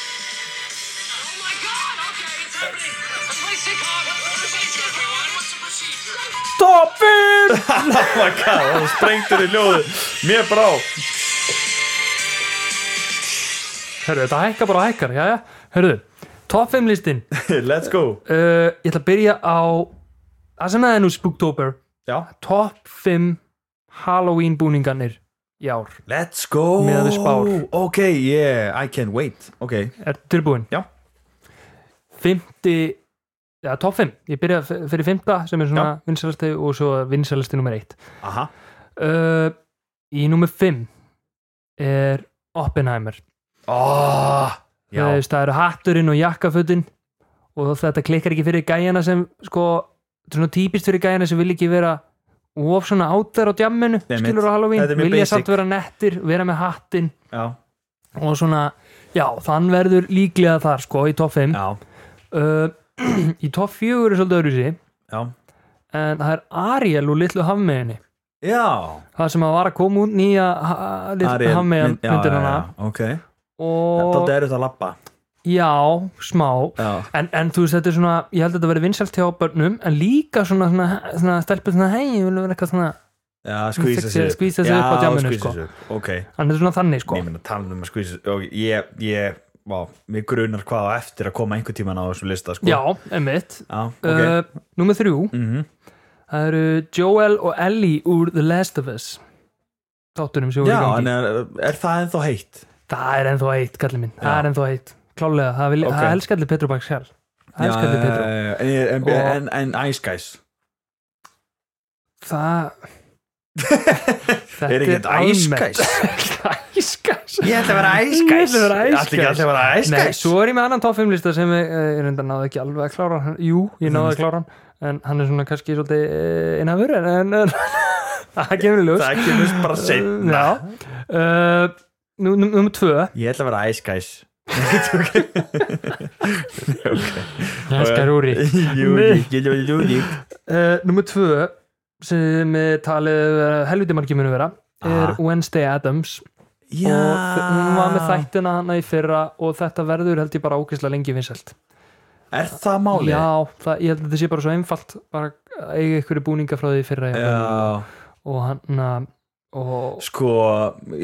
E: Oh my god, okay, it's happening. Let's play Chicago. Reservations, everyone. What's the procedure?
A: Top 5
B: *laughs* oh my god, það sprengtur í ljóðu mér brá
A: Hörru, þetta hækkar bara hækkar, já, já Hörru, top 5 listin uh,
B: let's go
A: Ég ætla að byrja á Það sem það er nú Spooktober
B: já.
A: Top 5 Halloween búningarnir í ár
B: let's go
A: Miðað við spár.
B: ok, yeah, I can't wait ok,
A: Er tilbúin?
B: Já.
A: 50 Já, top 5 Ég byrja f- fyrir 5 sem er svona vinsalasti og svo vinsalasti nummer 1
B: aha
A: uh, Í nummer 5 er Oppenheimer
B: oh,
A: Þú veist, það eru hatturinn og jakkafötin og þetta klikkar ekki fyrir gæjana sem sko, þetta er svona típist fyrir gæjana sem vil ekki vera of svona áttar á djamminu,
B: Nei, mitt.
A: skilur á Halloween
B: Þetta er mjög
A: vilja
B: basic.
A: samt vera nettir, vera með hattin
B: já,
A: og svona, já, þann verður líklega þar sko, í topp 5
B: já,
A: uh, *clears throat* í topp 4 er svolítið öðruvísi
B: já
A: en það er Ariel úr litlu hafmeginni
B: Já,
A: það sem að var að koma út nýja ha- litlu hafmegin
B: mynd- já,
A: myndin
B: já,
A: hana
B: já, Ok,
A: og
B: þetta er þetta að lappa
A: já, smá
B: Já,
A: En, en þú veist, þetta er svona, ég held að þetta verið vinsælt hjá börnum, en líka svona, svona, svona stelpur svona, hei, ég vil vera eitthvað svona,
B: já skvísa
A: Fixi-
B: sér upp.
A: skvísa sig
B: Já,
A: upp á djamminu,
B: skvísa
A: sko.
B: sig upp. Ok,
A: hann er svona þannig, sko.
B: ég meina tala um að skvísa sig ok, Ég, ég, vá, mér grunar hvað á eftir að koma einhvern tíman á þessum lista sko.
A: Já, emmitt.
B: já ok
A: Okay. Uh, númer þrjú,
B: Mhm.
A: það eru Joel og Ellie úr The Last of Us. Þáttunum sem voru
B: Já,
A: í
B: en
A: gangi.
B: er, er það ennþá heitt?
A: Það er ennþá eitt, kallið minn, það
B: Já.
A: er ennþá eitt. Klálega, það, vil,
B: Ok.
A: það elskar allir Petru Baks sjálf. Það elskar allir
B: já,
A: Petru.
B: já, já, en,
A: Og-
B: en, en, en Ice Guys
A: Það... Þetta
B: Er ekki þetta Ice
A: almennt.
B: Guys?
A: *laughs* Æskæs.
B: Ég ætla að vera Ice
A: Ég
B: Guys
A: ætla að vera Ice
B: Ætla ekki
A: Guys.
B: allir að vera Ice
A: Nei,
B: Guys
A: svo er ég með annan top 5 lista sem ég, eh, ég reynda náði ekki alveg að klára hann. Jú, ég
B: Mhm.
A: náði að klára hann en hann er svona kannski svolítið eh, innafur en, en, *laughs* en það kemur í ljós
B: Það kemur bara
A: Uh,
B: seinna
A: Já uh, nú- nú- Númer 2
B: Ég ætla að vera Ice Guys
A: Hanskar
B: *laughs*
A: úri
B: Jú,
A: Nei.
B: jú, jú, jú, jú
A: Númer 2 Eh, sem er talið eh, helviti margir munu vera er
B: Ah.
A: Wednesday Addams
B: Já
A: og þ- hún var með þættina hana í fyrra og þetta verður held ég bara ógeðslega lengi vinsælt
B: Er það málið?
A: Já, það, ég held að þetta sé bara svo einfalt bara að eiga ykkur búninga frá því í fyrra
B: Já,
A: og hann að og
B: sko,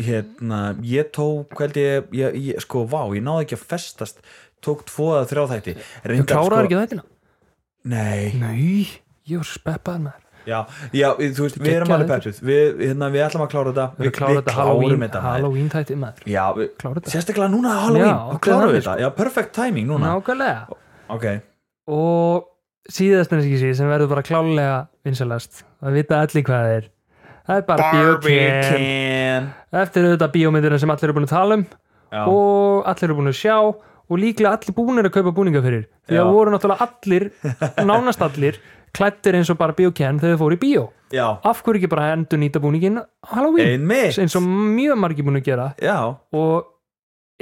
B: hérna ég tók, held ég, ég, ég sko, vá, ég náði ekki að festast tók tvo að þrjá þætti
A: þú
B: Reyndar, sko,
A: kláraði ekki þættina
B: Nei,
A: Nei, ég var speppaður með þér
B: já, já, við- þú veist, við erum
A: Geggjaður.
B: alveg peppuð við, hérna, við ætlum að klára þetta
A: Við kláraði þetta Halloween,
B: þetta, maður.
A: Halloween þætti með þér
B: Já, við,
A: Klára þetta.
B: sérstaklega núna á Halloween
A: Já,
B: já,
A: okkur
B: klárum við
A: þannig, sko.
B: þetta, já, perfect timing núna
A: Nákvæmlega
B: ok,
A: og síðast en ekki síðast sem verður bara klálega vinsalast að vita allir hvað það er það er bara biokin
B: can
A: eftir auðvitað bíómyndina sem allir eru búin að tala um
B: já,
A: og allir eru búin að sjá og líklega allir búinir að kaupa búninga fyrir því
B: Já.
A: að voru náttúrulega
B: *laughs*
A: allir nánast allir klættir eins og bara biokin þegar þau fóru í bíó
B: já,
A: af hverju ekki bara endur nýta búningin á Halloween
B: einmitt
A: eins og mjög margir búin að gera
B: já,
A: og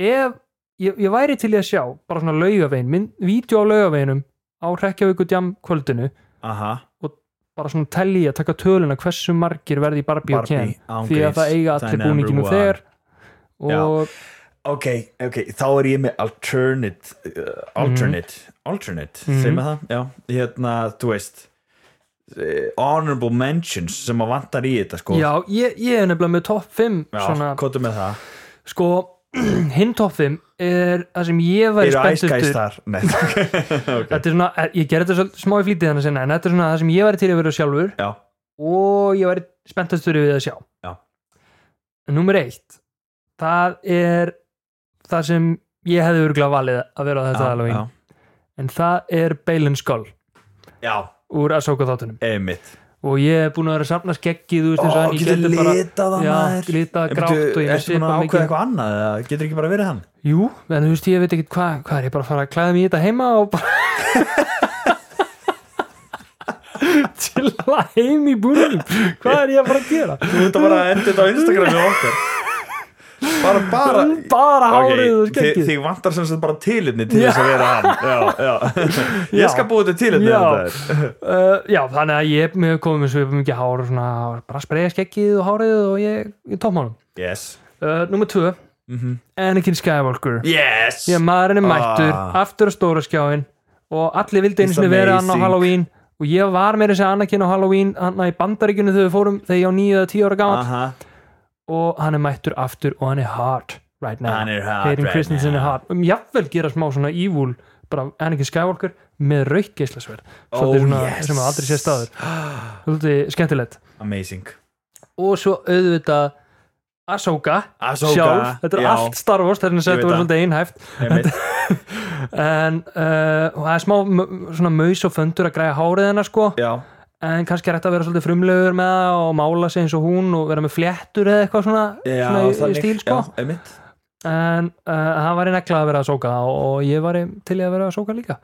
A: ef ég, ég væri til í að sjá bara svona laugavegin, minn, vídeo á laugaveginum á Reykjavíku djam kvöldinu
B: aha,
A: bara svona telli að taka töluna hversu margir verði í Barbie,
B: Barbie,
A: og
B: án
A: Ken því
B: gríns,
A: að það eiga
B: það er
A: allir
B: number
A: búninginu
B: one.
A: þegar og
B: ok, ok, þá er ég með alternate uh, alternate, alternate,
A: Mhm.
B: segjum við það já, hérna, þú veist eh, honorable mentions sem að vantar í þetta, sko
A: já, ég, ég er nefnilega með topp 5 svona,
B: kóttu með það,
A: sko *clears throat* hinn topp 5 er það sem ég væri
B: eru Ice Guys
A: spenntur
B: þar nei, *laughs* ok,
A: þetta er svona, ég gerði þetta svolítið smá í flýtið þannig að sinna, en þetta er svona það sem ég væri til í að vera sjálfur
B: já,
A: og ég væri spenntastur við að sjá
B: Já.
A: Númer eitt það er það sem ég hefði örgulega valið að vera á þetta
B: já,
A: Halloween
B: já,
A: en það er Balin Skull
B: já,
A: úr Ahsoka þáttunum
B: einmitt
A: og ég er búin að vera að safna skeggið þú veist eins og
B: Ó,
A: hann, ég
B: getur
A: geti bara
B: litað það
A: Já,
B: maður
A: litað
B: En
A: grátt
B: bíddu,
A: og ég með
B: Ertu búin
A: svipað
B: að
A: mikið.
B: ákveða eitthvað annað eða getur ekki bara verið hann?
A: jú, en þú veist ég veit ekkert hvað hvað er ég bara að fara að klæða mig í þetta heima og bara *laughs* til að heim í búinum hvað er ég að fara að gera
B: Þú ert að bara enda þetta á Instagramu okkar
A: *laughs*
B: Bara, bara
A: bara hárið og
B: Ok, þi-
A: skeggið
B: Þig vantar sem sagt bara tilitni til þess að vera hann Já,
A: *laughs*
B: já
A: Já.
B: Ég skal búið til tilitni
A: Já.
B: þetta er
A: *laughs* Uh, já, þannig að ég mér komið með svipum mikið hár og svona bara spreja skeggið og hárið og ég, ég tómánum.
B: Yes
A: Uh, Númer tvö,
B: Mhm.
A: Anakin Skywalker.
B: Yes
A: Ég maðurinn er mættur,
B: Ah.
A: aftur á stóra skjáin og allir vildi einu
B: It's
A: sinni vera hann á
B: amazing.
A: Halloween og ég var meira þessi Anakin á Halloween hann í bandaríkjunni þegar við fórum þegar ég á 9 eða 10 ára gátt
B: Aha,
A: og hann er mættur aftur og hann er hot right now.
B: Hann er hot
A: Hayden
B: right
A: Christensen
B: now.
A: er hot. Um, jafnvel gera smá svona evil bara Anakin Skywalker með raukt geislasverð. Svolítið
B: Oh,
A: svona
B: yes.
A: sem að aldrei sé staður. Svolítið skemmtilegt.
B: amazing
A: og svo auðvitað Ahsoka
B: Ahsoka,
A: sjálf, þetta er
B: já.
A: allt Star Wars þetta er að
B: Ég
A: þetta
B: veit
A: var
B: það.
A: svolítið einhæft
B: Einmitt.
A: *laughs* en uh, og það er smá m- svona maus og föndur að græja hárið hennar sko
B: Já
A: en kannski er þetta að vera svolítið frumlegur með það og mála sig eins og hún og vera með fléttur eða eitthvað svona,
B: Já,
A: svona í- í
B: þannig-
A: stíl sko
B: Já, einmitt
A: en uh, það var í negla að vera Ahsoka og, og ég var í, til í að vera Ahsoka líka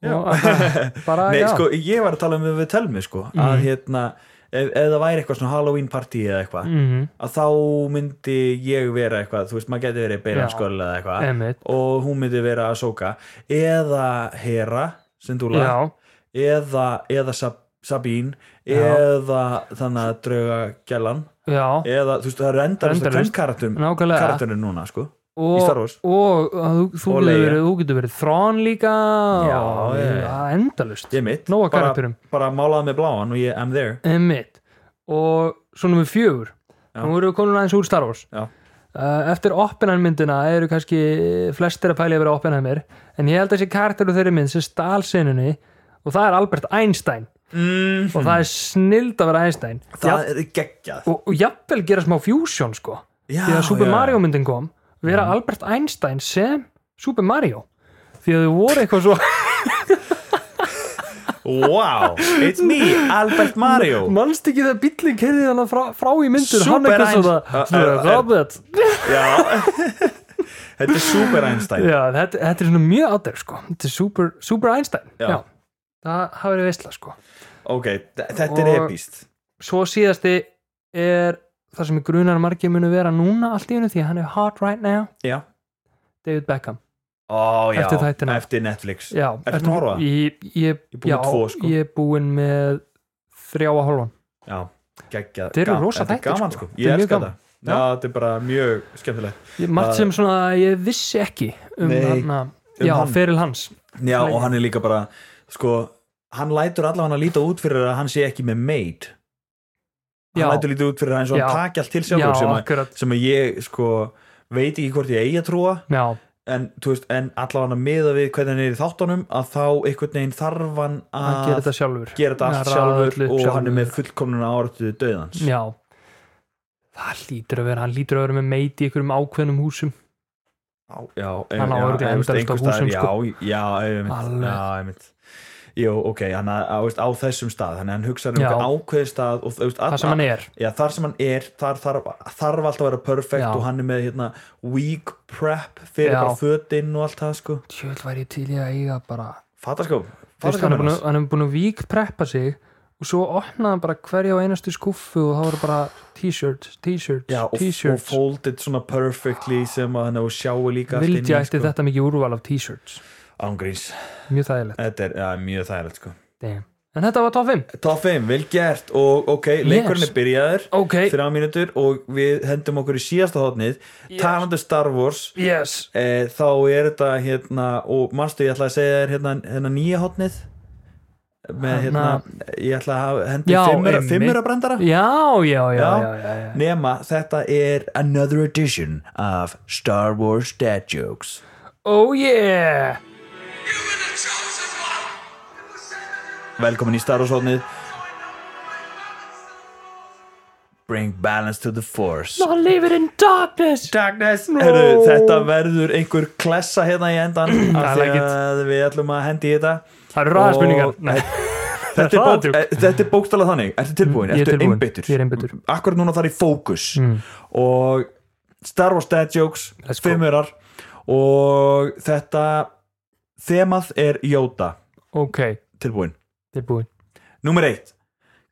A: já. og *laughs* uh, bara
B: Nei,
A: já Mhm.
B: sko, ég var að tala um ef við telmi, sko Að hérna, ef, ef það væri eitthvað svona Halloween party eða eitthvað
A: Mhm.
B: að þá myndi ég vera eitthvað þú veist, maður geti verið
A: Já.
B: beiranskóla eða eitthvað
A: Einmitt.
B: og hún myndi vera að sóka eða Hera Sindula,
A: Já.
B: eða, eða Sab Sabín eða þannig að drauga gælan
A: já,
B: eða þú veist, það eru endarist
A: Endalaust.
B: að karakterum
A: Nákvæmlega.
B: karakterum núna, sko í Star
A: og,
B: Wars.
A: og að þú, þú, getur
B: Og Leia.
A: verið, þú getur verið þrón líka
B: Já,
A: og-
B: já, já.
A: ja, endalust
B: ég mitt,
A: Nóg af
B: bara,
A: karakterum.
B: bara málaði með bláan og ég am there
A: Einmitt. og svo nummer fjögur nú erum við komin aðeins úr Star Wars
B: Já.
A: Uh, eftir Oppenheim myndina eru kannski flestir að pæli að vera Oppenheimer en ég held að þessi karakteru þeirri mynd sem stal senunni og það er Albert Einstein
B: mm,
A: og það er snild að vera Einstein
B: það er geggjað
A: og, og jafnvel gera smá fusion sko
B: Já,
A: því að Super
B: já. Mm.
A: Mario myndin kom vera Albert Einstein sem Super Mario því að þau voru eitthvað svo
B: wow, it's me, Albert Mario
A: *laughs* mannst ekki þegar bíllinn kerði hann frá, frá í myndur
B: Super
A: hann eitthvað
B: Einst-
A: svona, svona
B: Uh, uh, uh,
A: Robert
B: já *laughs* þetta er super Einstein
A: já, þetta, þetta er svona mjög out there sko þetta er Super, super Einstein
B: Já.
A: það hafa verið veistla sko
B: ok, þe- þetta er
A: Og-
B: epíst
A: svo síðasti er það sem ég grunar að margir munu vera núna allt í hennu því að hann er hot right now
B: já.
A: David Beckham
B: Ó, já,
A: Eftir þættina.
B: eftir Netflix
A: já,
B: Ertu búin að horfa?
A: ég, ég,
B: Ég er búinn
A: já,
B: með tvo, sko.
A: ég er búinn með þrjá að hálfan
B: já geggjað,
A: Þeir eru
B: gam-
A: rosa
B: þetta er
A: þættir,
B: gaman,
A: sko.
B: sko.
A: Þetta
B: ég
A: er mjög
B: elska
A: gaman.
B: það Já, þetta er bara mjög skemmtilegt
A: Ég- margt sem svona ég vissi ekki um
B: Nei,
A: hana,
B: um
A: já,
B: hann.
A: feril hans
B: Já, og hann er líka bara sko, hann lætur allavega hann að líta út fyrir að hann sé ekki með maid
A: Já.
B: hann lætur lítið út fyrir að eins og
A: Já.
B: hann taki allt til
A: já,
B: sjálfur sem, að,
A: akkurat
B: sem að ég sko veit ekki hvort ég eigi að trúa
A: já,
B: en, þú veist, en allavega að miða við hvernig hann er í þáttunum að þá einhvern veginn þarf hann að
A: hann gerir þetta sjálfur
B: gera þetta allt
A: Að raða
B: sjálfur
A: öllu upp
B: og hann
A: sjálfur.
B: er með fullkomnuna áratu döðans
A: já það lítur að vera, hann lítur að vera með meiti í einhverjum ákveðnum húsum
B: já, já,
A: Hann á
B: já,
A: örugglega
B: en, þú
A: endalaust
B: veist,
A: á
B: einhvers staðar-
A: húsum, sko.
B: já, já, einmitt,
A: Alveg.
B: já, einmitt Jú, ok, hann á, á, veist, á þessum stað þannig að hann hugsaði um
A: Já.
B: einhvern ákveðið stað og, þú veist,
A: það sem hann er,
B: Já, þar sem hann er, þar þarf, þarf alltaf að vera perfect
A: Já.
B: og hann er með hérna weak prep fyrir
A: Já.
B: bara fötinn og allt það sko
A: tjöld væri ég til í að eiga bara
B: Fattaskáp,
A: Þú veist, hann er
B: fattaskáp
A: búin að- hann er búin að vík preppa sig og svo opnaði hann bara hverja og einastu skuffu og þá voru bara t-shirts, t-shirts,
B: Já, og, og
A: t-shirts
B: folded svona perfectly sem að hann sjáu líka allt sko.
A: vildi
B: í,
A: ég ætti þetta mikið úrval af t-shirts
B: Ángríns,
A: mjög þægilegt
B: þetta er ja, mjög þægilegt sko
A: Damn. en þetta var top 5
B: Top 5, vel gert og ok, leikurinn
A: Yes.
B: er byrjaður
A: ok,
B: þrjá mínútur og við hendum okkur í síðasta hotnið yes. talandi um Star Wars
A: yes
B: e, þá er þetta hérna og manstu ég ætla að segja þér hérna, hérna nýja hotnið með hérna, ég ætla að hafa- hendi
A: Já,
B: fimmura,
A: einmitt.
B: fimmura brandara
A: já, já, já,
B: Já.
A: já, já, já.
B: nema þetta er another edition of Star Wars Dad Jokes
A: oh yeah
E: You were the chosen one.
B: velkomin í Star Wars hotnið bring balance to the force
A: I live it in darkness
B: Darkness Heru, þetta verður einhver klessa hérna í
A: *clears throat*
B: endan af
A: I like
B: því
A: it.
B: að við ætlum að hendi í þetta
A: það eru ræða spurningar
B: Og-
A: Nei.
B: þetta er,
A: hraðadjúk.
B: bók, eh, þetta er bókstala þannig Ertu tilbúin?
A: Mm, ég er
B: Ertu
A: tilbúinn.
B: einbyttur?
A: Ég er einbeittur. Mm.
B: Akkur núna þar í fókus og Star Wars Dad Jokes
A: Let's go.
B: fimmurar og þetta þemað er Jóta
A: ok,
B: tilbúin.
A: tilbúin
B: Númer eitt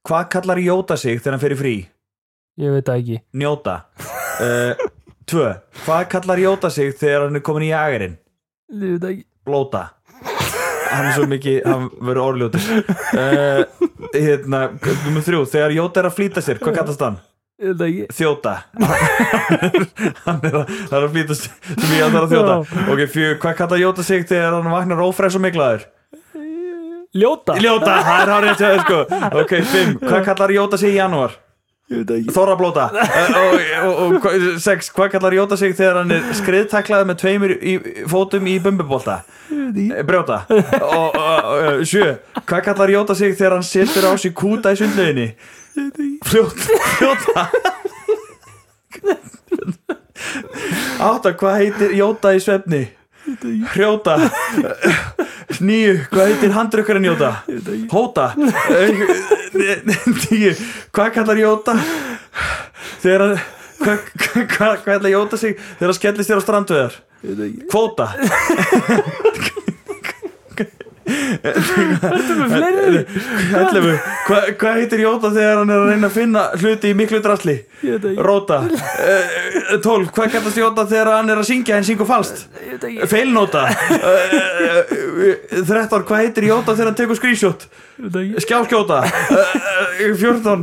B: Hvað kallar Jóta sig þegar hann fer í frí?
A: ég veit það ekki, *laughs*
B: Njóta uh, Tvö Hvað kallar Jóta sig þegar hann er komin í jagerinn?
A: ég veit það ekki
B: Blóta Hann er svo mikið, hann verður orðljótur uh, Hérna, nummer þrjú Þegar Jóta er að flýta sér, hvað kallast hann?
A: ég veit það ekki
B: þjóta hann er að, það er að flýta sig sem ég ætlar að þjóta ok, fjör, hvað kallar Jóta sig þegar hann vaknar ófræs og miklaður?
A: ljóta,
B: Ljóta, það er hárið til sko ok, fimm, hvað kallar Jóta sig í janúar?
A: ég veit það ekki
B: Þorrablóta Eh, *laughs* og, og, og hva- sex, hvað kallar Jóta sig þegar hann er skriðtaklaður með tveimur í, fótum í bumbubólta? Brjóta og, og, og sjö, hvað kallar Jóta sig þegar hann setur á sig kúta í sundlöginni? Fljóta Fljóta Átta, hvað heitir Jóta í svefni? Hrjóta Níu, hvað heitir handrukkarinn Jóta? Hóta Eh, Níu, hvað kallar Jóta? Þegar hann Hvað hva, hva, hva ætla Jóta sig þegar hann skellist þér á strandveðar? Kvóta
A: fleiri,
B: Ætlefu, hvað hva heitir Jóta þegar hann er að reyna að finna hluti í miklu drasli?
A: Ég veit það ekki.
B: Róta Eh, Tólf, hvað kallast Jóta þegar hann er að syngja en syngur falskt?
A: ég veit það ekki
B: Feilnóta Þrettán, hvað heitir Jóta þegar hann tekur skrýsjót?
A: Ég veit það ekki.
B: Skjáskjóta Fjórtán,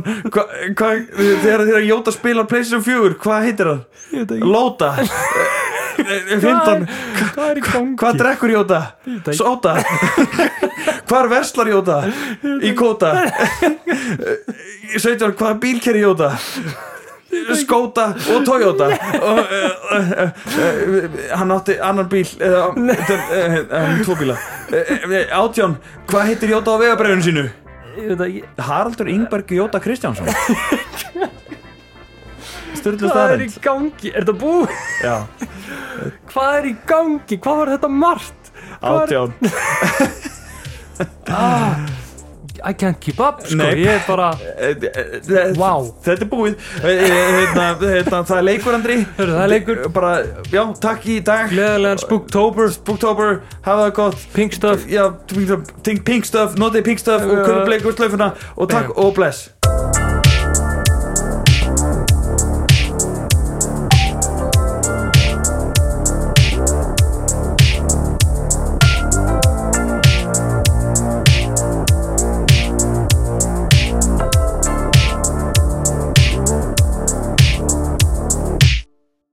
B: þegar þegar Jóta spilar Playstation 4, hvað heitir hann?
A: Ég veit það ekki.
B: Lóta Eh, Fimtán,
A: Hvað er í gangi?
B: Hvað drekkur Jóta?
A: veit ekki. *laughs*
B: Sóta Hvar verslar Jóta? Í
A: *laughs*
B: kóta 17. Hvaða bíl keri Jóta? Skóta og
A: *laughs*
B: Toyota og, eh, eh, eh, Hann átti annan bíl eða, þetta er, eh, eh, Tvo bíla Eh, eh, Átján, hvað heitir Jóta á vegabræðinu sínu?
A: Ég veit það ekki.
B: Haraldur Ingberg Jóta
A: *laughs*
B: Kristjánsson
A: Hvað er í
B: Sturlu staðarinn
A: gangi? Er þetta búið?
B: Já,
A: Hvað er í gangi? Hvað var þetta margt? Hvað er-
B: átján
A: I can't keep up, sko.
B: Nei.
A: Ég er bara, Vá.
B: Wow. Þetta er búið Eh, eh, hérna, hérna, Það er leikur Andri Eh,
A: Hörru, það er leikur.
B: bara, Já, takk í dag
A: gleðilegan spooktober,
B: Spooktober, hafa það gott
A: pink stuff.
B: Já, think pink stuff, notið pink stuff og
A: Já.
B: kunnum bleikur slöfuna og takk
A: Bam.
B: og bless